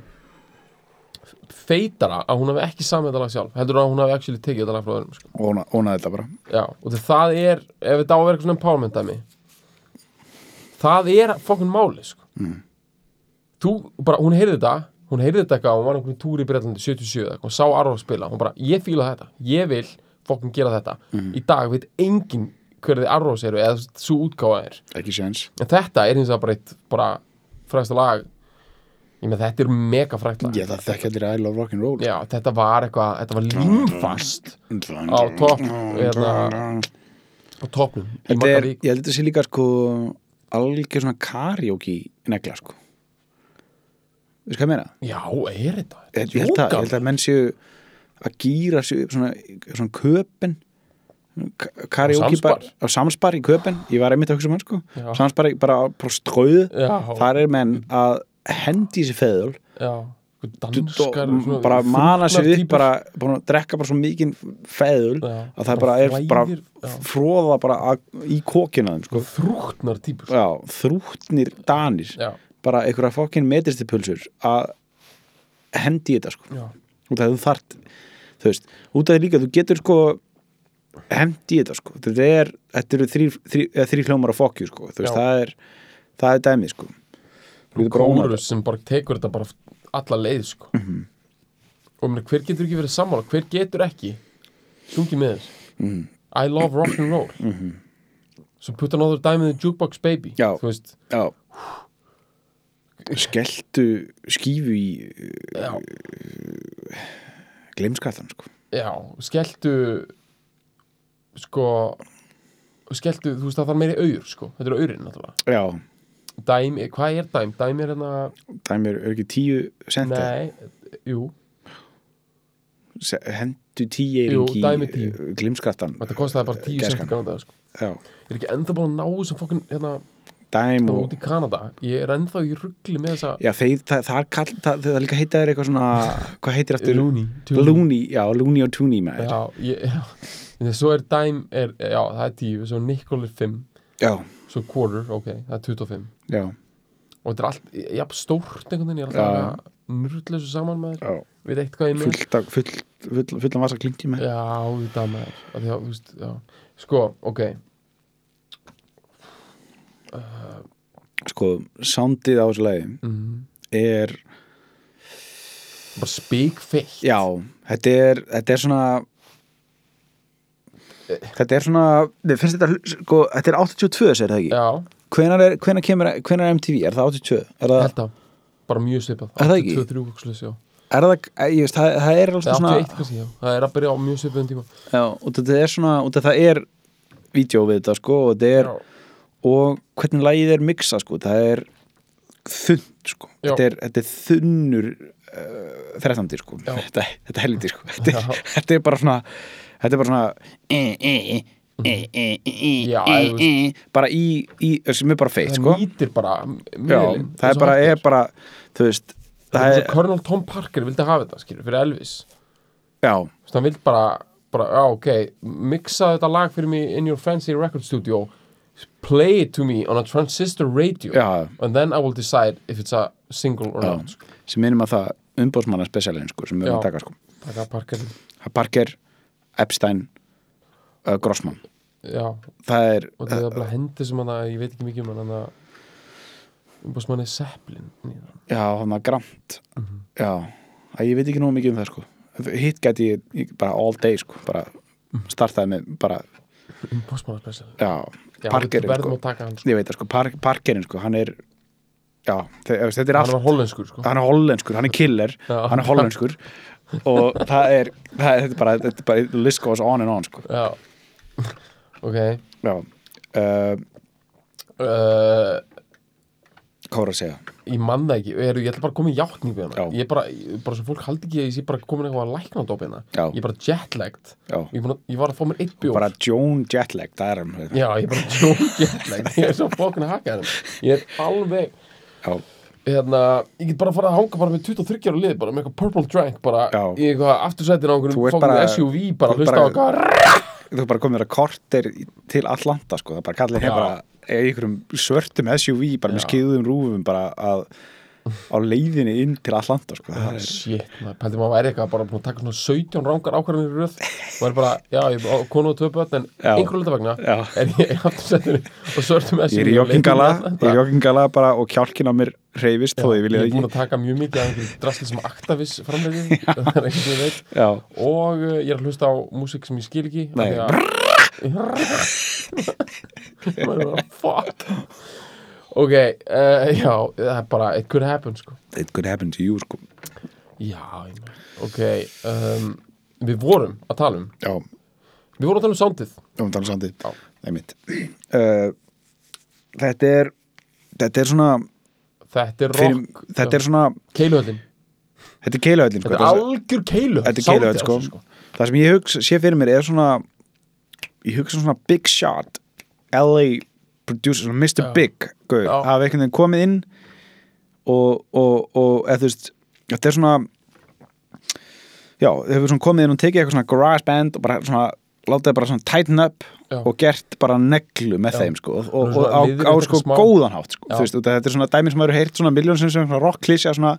C: feitara að hún hafi ekki samið þetta lag sjálf heldur en að hún hafi actually tekið þetta lag frá öðrum sko.
B: Óna, ónaði þetta bara
C: Já, og því það er, ef þetta á að vera eitthvað svona empowerment dæmi það er fokkun máli sko. mm. þú, bara, hún heyrði þetta hún heyrði þetta eitthvað, hún var á einhverjum túri í Breitlandi 77 eitthvað, hún sá Arvo spila, hún bara ég fíla þetta, ég vil fokkun gera þetta í dag veit enginn hverði Arvos eru eða svo útgáfa er
B: ekki séns
C: en þetta er hins vegar bara eitt bara fræsta lag ég með þetta er mega frækt lag
B: ég það þekki allir I love rock'n'roll
C: Já, þetta var eitthvað, þetta var límfast á topp hérna, eða, á toppnum í
B: Þetta
C: marga
B: er,
C: vikur.
B: ég held að þetta sé líka sko algjör svona karaoke negla sko veist hvað ég meina?
C: Já, er þetta?
B: Ég, ég, held að, ég held að menn séu að gýra séu upp svona, svona köpen ka- karaoke
C: Samspar.
B: bara á samspar í köpen, ég var einmitt að hugsa um hann sko
C: Já.
B: samspar í- bara á bara ströðu
C: Já.
B: þar er menn að hendi sér feðul
C: Já, einhver danskar
B: og
C: svona
B: bara mana sér
C: þungar
B: upp
C: týpur.
B: bara, búin að drekka bara svo mikinn feðul
C: Já.
B: að það bara
C: Bara
B: er bara
C: flæðir, já.
B: fróða bara að, í kókina þeim sko
C: Þrútnar típur
B: já, þrútnir danir
C: Já.
B: bara einhverja fokkin metristipulsur að hendi í þetta sko
C: Já.
B: út af því þú þart þú veist, út af því líka þú getur sko hendi í þetta sko þetta, er, þetta eru þrý, þrý, eða þrý hljómar að fokkju sko þú
C: Já.
B: veist, það er það er dæmið sko Þú getur bara ónað
C: Kórus sem bara tekur þetta bara alla leið sko.
B: Mhm.
C: og mér, hver getur ekki verið sammála hver getur ekki sungið með þess
B: Mhm.
C: I love rock'n'roll mm -hmm. svo putta náður dæmið í jukebox baby
B: Já.
C: þú veist
B: Já Skelltu skífu í eh,
C: Já.
B: gleimskattan sko
C: Já, skelltu sko skelltu, þú veist það þarf meiri auður sko, þetta eru auðurinn náttúrulega
B: Já,
C: dæmi, hvað er dæm? Dæm er hérna,
B: dæmi eru er ekki tíu senti
C: nei, jú,
B: Se- hendu tíu er
C: Jú,
B: ekki
C: dæmi tíu.
B: glimskattan
C: þetta kostaði bara 10
B: Gæskan.
C: sekund Kanada, sko.
B: Já.
C: Ég er ekki enda búin að ná þessum fokkin hérna,
B: dæmi
C: hérna
B: og
C: út í Kanada. Ég er ennþá í ruggli með þessa
B: Já, þeir, það, það, er kall, það, það líka heita þér eitthvað svona hvað heitir aftur?
C: Looney Tunes.
B: Looney, já, Looney og Tooney maður
C: Já, ég, já. En Svo er dæm, er, já, það er 10, svo Nikol er 5,
B: já,
C: svo quarter, ok, það er 25.
B: já,
C: Og þetta er allt, jafn stórt einhvern veginn, ég er
B: Já.
C: alltaf að nurrla þessu saman með þér.
B: já.
C: Við eitt hvað ég með.
B: fullt af- full, full, fullan vasa klingi maður
C: Já, þetta með þér. Af því að, þú veist, já. Sko, ok,
B: sko, soundið á þessu lagi er,
C: mhm. bara spíkfeitt.
B: já, þetta er þetta er svona þetta er svona mér finnst þetta, hl- sko, þetta er 82 segir það ekki,
C: Já,
B: hvenar, er, hvenar kemur hvenar er MTV, er það 82 er það,
C: held að, bara mjög svipað.
B: Er það ekki?
C: 23 okkslis, já.
B: er það, ég veist, það, það er alveg
C: Eða
B: svona
C: 81 kannski, já. Það er að byrja á mjög svipaðum tíma.
B: já, og þetta er svona, og það er vídeo við þetta, sko, og þetta er
C: Já.
B: og hvernig lagið er miksa sko, það er þund sko,
C: Já.
B: þetta er, þetta er þunnur uh, þrættandi sko
C: Já.
B: þetta, þetta er helviti sko þetta
C: Já.
B: er, þetta er bara svona þetta er bara svona e, e, e, e, e, e,
C: Já,
B: e,
C: þú
B: e, bara í, í sem er bara feitt
C: Það
B: sko
C: nýtir bara
B: Já,
C: miðlinn.
B: það er bara, er bara þú veist,
C: Það
B: það
C: er
B: er,
C: svo Colonel Tom Parker vildi hafa þetta, skilur, fyrir Elvis.
B: já
C: Þú veist, hann vild bara, bara, já, ok, mixa þetta lag fyrir mig in your fancy record studio, play it to me on a transistor radio,
B: Já.
C: and then I will decide if it's a single or
B: Já.
C: not. Sko.
B: sem minnum að það umbóðsmanna spesialinn sko, sem við erum
C: Já.
B: að taka sko
C: Taka Parker,
B: Parker, Epstein uh, Grossman
C: já, og
B: það er,
C: það er bara hendi sem hann að, ég veit ekki mikið um hann, hann að, umbásmanni Zeppelin, nýðan.
B: Já, hann var gramt Já, að ég veit ekki nóg mikið um það sko Hitt gæti ég- ég bara all day sko bara startaði með bara,
C: umbásmanni spesial.
B: já,
C: Já,
B: parkerinn
C: við verðum
B: sko.
C: að taka hann, sko.
B: Ég veit það sko, park, parkerinn sko hann er, já, þe- þú veist, þetta er
C: Hann
B: allt
C: var hollenskur, sko.
B: hann er hollenskur, hann er killer
C: Já.
B: hann er hollenskur og það er, það er, þetta er bara, þetta er bara the list goes on and on sko
C: Já, ok,
B: Já, uh,
C: uh,
B: hvað var að segja?
C: Ég man það ekki, er, ég ætla bara að koma í játning við hana
B: Já.
C: Ég er bara, ég- bara svo fólk haldi ekki að ég sé bara komin eitthvað að lækna á dopina
B: Já.
C: Ég er bara jetlagt
B: Já.
C: ég, er búinn að- ég var að fá mér eitt bjór
B: Bara Joan Jetlag, það er hann
C: Já, ég er bara tjón jetlagt Ég er svo fólkin að haka hann Ég er alveg,
B: Já,
C: hérna, ég get bara að fara að hanga bara með 23 ára lið Bara með eitthvað purple drank bara
B: Já.
C: Í eitthvað aftursætin á einhverjum
B: Þú ert
C: fólkin
B: bara-
C: SUV Bara
B: þú
C: að hlusta á
B: bara-
C: eitthvað
B: þú bara komir að korter til Atlanta sko, það er bara kallið
C: Já.
B: hér bara í einhverjum svörtum SUV bara með
C: Já.
B: skeiðum rúfum bara að á leiðinni inn til Atlanta sko, það er
C: Shit, maður pældi maður væri eitthvað bara búin að taka svona 17 rángar ákvarðanir í röð og er bara, já, ég er konu og tvö börn en
B: Já.
C: einhverju hluta vegna
B: Já.
C: er ég aftur settur og svörtum
B: Ég er í joggingala, ég er í joggingala bara og kjálkin á mér reyfist þó ég
C: Ég
B: vilja
C: er búin
B: ekki
C: að taka mjög mikið af einhverjum drastli sem Actavis framleiði það er ekkert ég veit
B: Já,
C: og uh, ég er að hlusta á músík sem ég skil ekki af
B: Nei.
C: því að maður er bara, fuck ok, uh, já það er bara, it could happen sko
B: it could happen to you sko
C: Já, ég meina. ok um, Við vorum að tala um
B: Já,
C: Við vorum að tala um soundið
B: um tala sandi
C: Já.
B: Nei mitt uh, Þetta er þetta er svona
C: Þetta er
B: fyrir,
C: rock
B: þetta er svona,
C: Keiluhöllin
B: þetta er keilaöllin sko,
C: Þetta er
B: það-
C: algjör keiluhöll
B: þetta er keiluhöll
C: soundið á
B: sko.
C: þessu,
B: það sem ég hugsa, sé fyrir mér er svona ég hugsa um svona big shot LA producer, svona Mr.
C: Já.
B: Big gauð,
C: Já.
B: hafa einhvern veginn komið inn og, og, og eða, þú veist, þetta er svona já, þau hefur svona komið inn og tekið eitthvað svona garage band og bara svona látaði bara svona tighten up
C: Já.
B: og gert bara neglu með þeim sko, og, og,
C: Svona
B: og á,
C: liðið
B: á
C: þetta
B: sko
C: smá.
B: góðan hátt sko,
C: Já.
B: þú veist, og þetta er svona dæmi sem maður hefur heyrt svona miljón sem sem svona rocklísja svona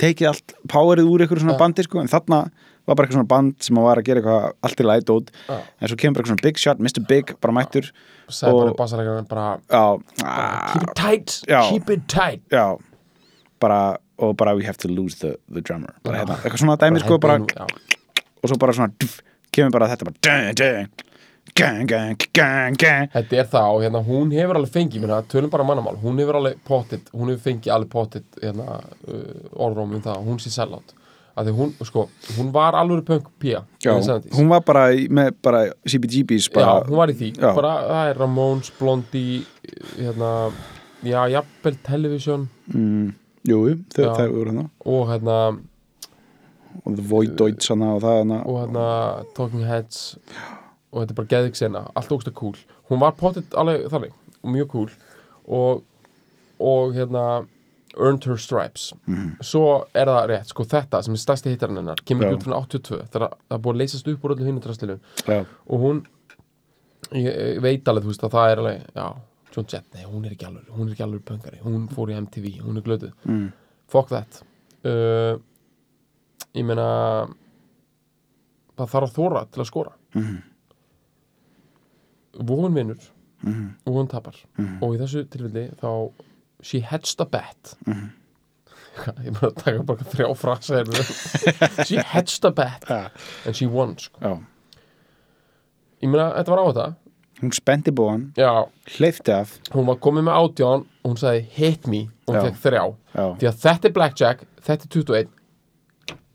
B: tekið allt powerið úr ykkur svona
C: Já.
B: bandi sko, en þarna var bara eitthvað svona band sem var að gera eitthvað allt í læt út
C: Já.
B: en svo kemur bara eitthvað svona big shot, Mr. Big bara mættur
C: Sæði bara
B: Og-
C: bassarækjarinn bara
B: já,
C: Keep it tight,
B: Já.
C: keep it tight
B: já bara, og bara we have to lose the, the drummer bara hérna, eitthvað svona dæmi sko
C: Bara
B: bara,
C: hendi nú, já.
B: og svo bara svona df, kemur bara þetta bara dun, dun, gang, gang, gang, gang
C: Þetta er það og hérna hún hefur alveg fengið minna, tölum bara mannamál, hún hefur alveg pottit hún hefur fengið alveg pottit hérna, uh, orðróm um það, að hún sé sellátt að því hún, sko, hún var alveg punk pía
B: já,
C: í 70s.
B: hún var bara í- með bara CBGB's bara,
C: já, hún var í því
B: Já.
C: bara, það er Ramones, Blondie hérna, já, jafnvel television
B: mm, Jú, jú, þau
C: Já.
B: þau voru hérna
C: og hérna,
B: og The Void Deutsch hana og það hana
C: og hérna Talking Heads og þetta er bara geðvik sena, allt ógsta cool hún var pottet alveg þannig og mjög cool og, og hérna Earned Her Stripes svo er það rétt, sko þetta sem er stærsti hittarinn hennar, kemur
B: Já.
C: út frá 82 þegar það er búið að leysast upp úr öllu hinu drastlinu
B: Já,
C: og hún ég, ég veit alveg, þú veist að það er alveg já, John Jett, nei, hún er ekki alveg hún er ekki alveg pöngari, hún fór í MTV hún er glötuð,
B: Mm.
C: fuck that uh, ég meina það þarf að þóra til að skora
B: Mhm.
C: von vinnur
B: Mhm.
C: og hún tapar
B: Mm-hmm.
C: og í þessu tilfelli þá she hedged a bet
B: Mm-hmm.
C: ég meina að taka bara þrjá frasa hérna. she hedged a bet
B: Ja.
C: and she won sko.
B: já
C: ég meina, þetta var á þetta
B: Hún spenti bóðan,
C: já,
B: hleyfti af
C: hún var komið með átján og hún sagði hit me og hún
B: Já.
C: fekk þrjá
B: Já.
C: því að þetta er blackjack, þetta er 21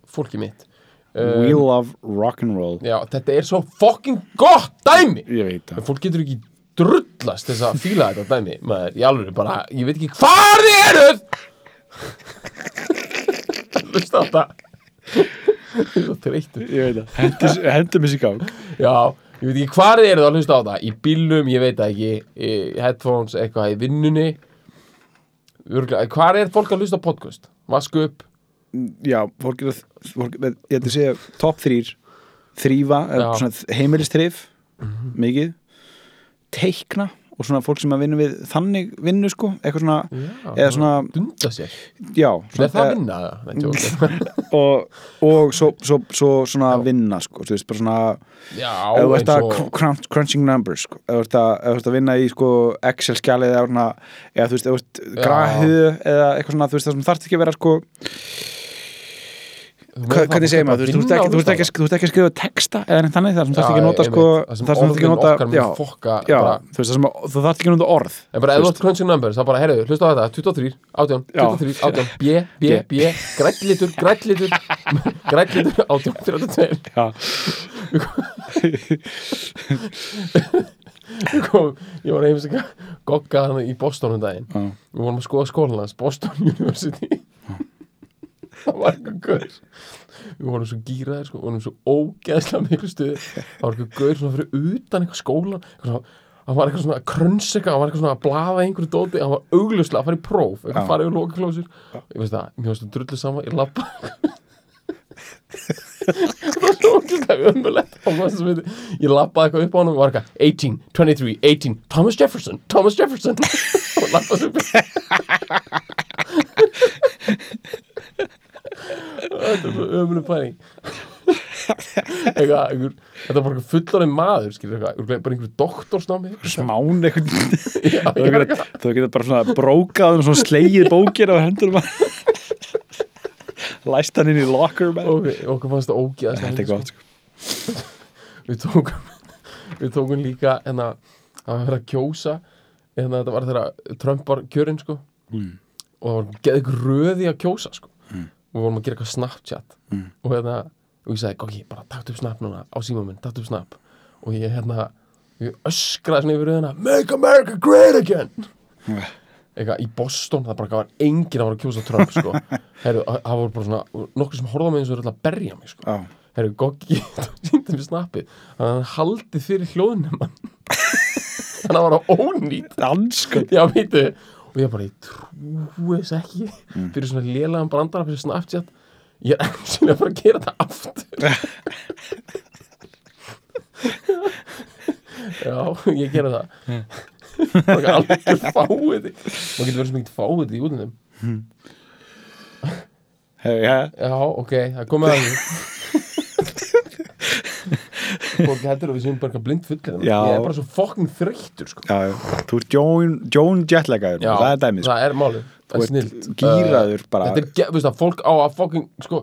C: fólki mitt uh,
B: We love rock'n'roll
C: já, þetta er svo fucking gott dæmi
B: Ég veit það
C: en fólk getur ekki drullast þess að fíla þetta dæmi maður, í alveg bara, ég veit ekki hvar þið eruð hlust á þetta Ég er svo þreyttur
B: Ég veit það, hendum þessi gang
C: já, ég veit ekki hvar þið eruð að hlusta á þetta í bílum, ég veit það ekki í headphones, eitthvað í vinnunni Örglega, hvar er fólk að hlusta á podcast? Vasku upp,
B: Já, fólk er að fólk, Ég ætti að segja topp þrýr Þrýfa,
C: Já.
B: eh,
C: Mhm.
B: heimilistrif Mikið Teikna og svona fólk sem að vinna við Þannig vinnu sko, eitthvað svona
C: Já,
B: Eða svona,
C: dunda sér
B: já
C: Er það að
B: eh,
C: vinna það? Nei, tjók.
B: og, og svo, svo, svo svona vinna sko, þú veist, bara svona
C: Já,
B: ef þú
C: eins
B: ert að
C: og
B: cr- crunch, crunching numbers sko. ef þú ert að, ef þú ert að vinna í sko, Excel skjalið eða, svona, eða þú veist, ef þú ert
C: Já.
B: grahiðu eða eitthvað svona, þú veist, það sem þarft ekki að vera sko,
C: Þú
B: hva-
C: meinar það
B: hvernig
C: fólk
B: segir
C: bara
B: maður, þú veist, þú ert
C: vinna
B: ekki,
C: og
B: þú ert
C: hlusta á
B: ekki,
C: það?
B: þú ert ekki að skrifa texta eða neitt þannig, það sem þarft
C: Já,
B: ekki að nota
C: einmitt.
B: sko,
C: Það sem
B: það sem þarft ekki
C: orðin
B: að nota
C: okkar
B: já,
C: mun fokka
B: já,
C: bara-
B: þú veist, það sem að- þú þarft ekki að nota orð
C: En bara ef þú
B: þú veist.
C: ert crunching numbers, það bara, heyrðu, hlusta á þetta 23, 18,
B: Já.
C: 23, 18 B, B, B, grænlitur, grænlitur grænlitur, 18, 32
B: Já.
C: Ég kom, ég var heimis að gogga hann í Boston um daginn
B: Já.
C: við vorum að skoða skólan hans, Boston University það var eitthvað gaur við vorum svo gýraðir sko, við vorum svo ógeðslega miklu stuði það var eitthvað gaur svona fyrir utan eitthvað skólan eitthvað svona hann var eitthvað svona að krönsa eitthvað, hann var eitthvað svona að blaða í einhverju dóti, hann var augljóslega að fara í próf eitthvað
B: Já.
C: farið úr lokaklósir ég veist það, mér varst að drullu saman, ég lappa það var svo ógeðslega ömulegt og maður sem veit, ég lappaði eitthvað upp á hann og var eitthvað 18, 23, 18, Thomas Jefferson Thomas Jefferson og lappaði upp þetta er bara ömuleg pæling eitthvað, einhver, þetta er bara einhver fullorinn maður skilur eitthvað, örugglega bara einhver doktorsnámi
B: smán eitthvað
C: Já,
B: þú
C: ég var
B: getur- þú getur bara svona brókað og svona slegið bókir á hendur læst hann inn í locker man.
C: ok, okkur fannst það ógeðast
B: þetta er gott sko.
C: við tókum við tókum líka hérna, en að að vera að kjósa en að þetta var þegar Trump var kjörinn sko og það var geðið gröði að kjósa sko og við vorum að gera eitthvað Snapchat og hérna og ég sagði ok, bara takt upp Snap núna á síma minn, takt upp Snap og ég hérna ég öskraði svona yfir röðina Make America Great Again eitthvað í Boston, það bara var enginn að vera að kjósa Trump sko, Heru, það voru bara svona nokkur sem horfða mig eins og eru alltaf að berja mig sko.
B: Já.
C: Herru, Goggi síndi mér snappið Þannig að hann haldið fyrir hljóðnemann Þannig að hann var á ónýt
B: Danskot.
C: Já, veitu Og ég bara, ég trúi þess ekki Fyrir svona lélegan brandara fyrir Snapchat Ég er ensinlega bara að gera þetta aftur Já, ég gera það Bara alveg fáiði Maður getur verið svo mikið fáiði í útlindum
B: Hey, ja.
C: Já, ok, það komið að því Fólk heldur að við séum bara eitthvað blind fullir
B: Já.
C: Ég er bara svo fokkin þreyttur sko.
B: já, já. þú ert Jón, Jón Jettlagaður
C: Já,
B: það er dæmið sko.
C: Það er málið,
B: Þú
C: það er
B: ert
C: snilt Eh, Uh,
B: gíraður bara.
C: Þetta er, ge- veist það, fólk á að fokkin sko,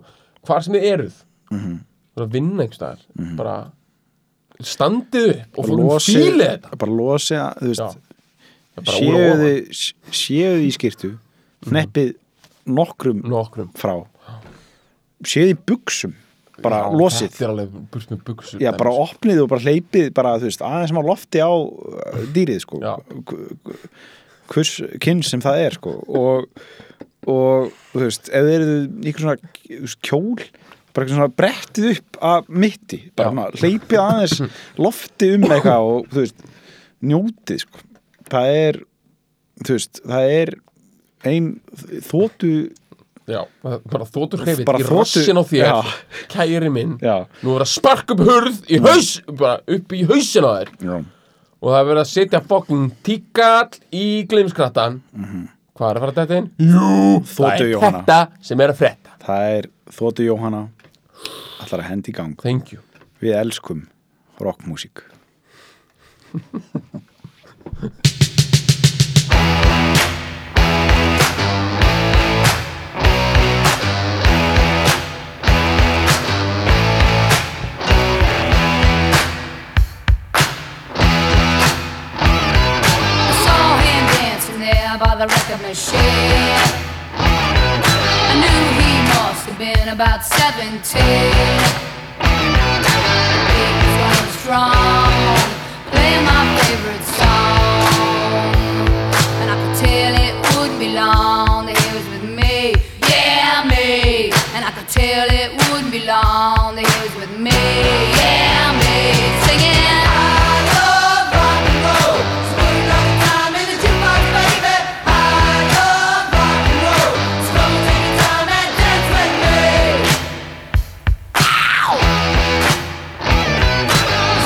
C: Hvar sem þið eruð mm
B: Mhm.
C: -hmm. að vinna einhvers staðar bara standið upp og fólk fílið þetta
B: bara losi að,
C: Já.
B: þú veist,
C: Það er bara úr
B: séu
C: og ofan. Mhm.
B: þið séu þið í skirtu hneppið nokkrum
C: Nokkrum
B: frá séu þið í buksum bara
C: Já,
B: losið
C: Þetta er alveg burt með buksur
B: Já, bara opnið og bara hleypið bara, þú veist, aðeins sem á lofti á uh, dýrið, sko
C: Já.
B: K- k- hvers kynn sem það er sko. og, og þú veist, ef þið eru einhver svona þú veist, kjól bara eitthvað svona brettið upp að mitti, bara
C: Já.
B: svona, hleypið aðeins lofti um eitthvað og þú veist, njótið sko. það er þú veist, það er ein þóttu
C: Já, bara þóttur hreyfið
B: Bara
C: í
B: þotu-
C: rassin á þér,
B: Já.
C: kæri minn
B: Já.
C: Nú er að sparka upp hurð í haus, bara upp í hausin á þér
B: já,
C: Og það er verið að setja fokkin tíkall í glimskrattan Hvað er að fara þetta inn? Jú, það
B: Mhm. Þotu,
C: er
B: Jóhanna.
C: þetta sem er að frétta
B: það er þóttu Jóhanna allar að hendi í gang
C: Thank you
B: Við elskum rockmusík.
D: I saw him dancing there by the record machine. I knew he must have been about 17. He was going strong, playing my favorite song. And I could tell it wouldn't be long that he was with me. Yeah, me. And I could tell it wouldn't be long that he was with me. Yeah, me. Singing. I love rock and roll. So put it all the time in the jukebox, baby. I love rock and roll. So come and take your time and dance with me. He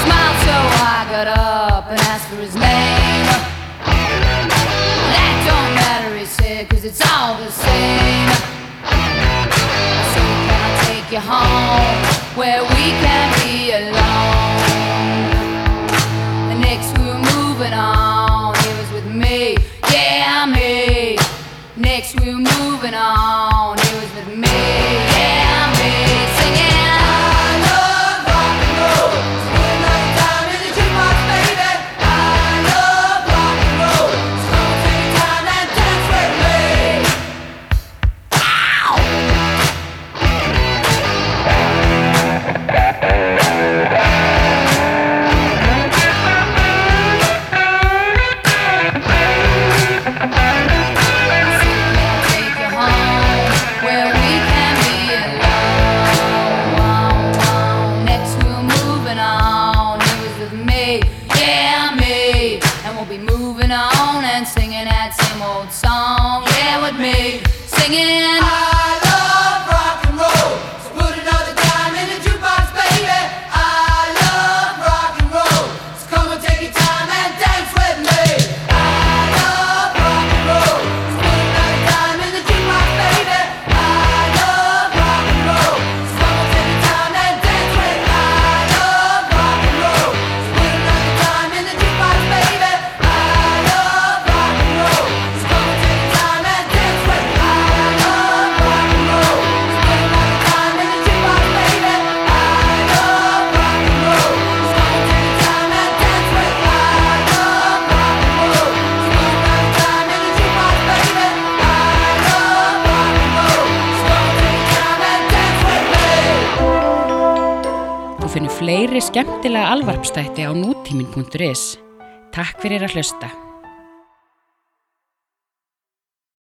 D: smiled so I got up and asked for his name. That don't matter, he said, cause it's all the same. So can I take you home where we can be alone? And next we were moving on, he was with me, yeah, me. Next we were moving on, he was with me, yeah, me. Singing, I love rock and roll. So put another dime in the jukebox, baby. I love rock and roll. So come and take your time and dance with me. Take you home where we can be alone. Next we're moving on. It was with me, yeah me, and we'll be moving on and singing that same old song. Yeah, with me singing. I love rock and roll. So put another dime in the jukebox, baby. I love rock and roll. So come and take your time and dance with me. I love rock and roll. So put another dime in the jukebox, baby. I love rock and roll. So come and take your time and dance with me. I love rock and roll. So put another dime in the jukebox, baby. I love rock and roll. So come and take your time and dance with me. I love rock and roll. So put another dime in the jukebox, baby. I love rock and roll. So come and take your time and dance with me. I love rock and roll. So put another dime in the jukebox, baby. I love rock and roll. So come and take your time and dance with me.
E: Þú finnir fleiri skemmtilega alvarpstætti á nútímin.is. Takk fyrir að hlusta.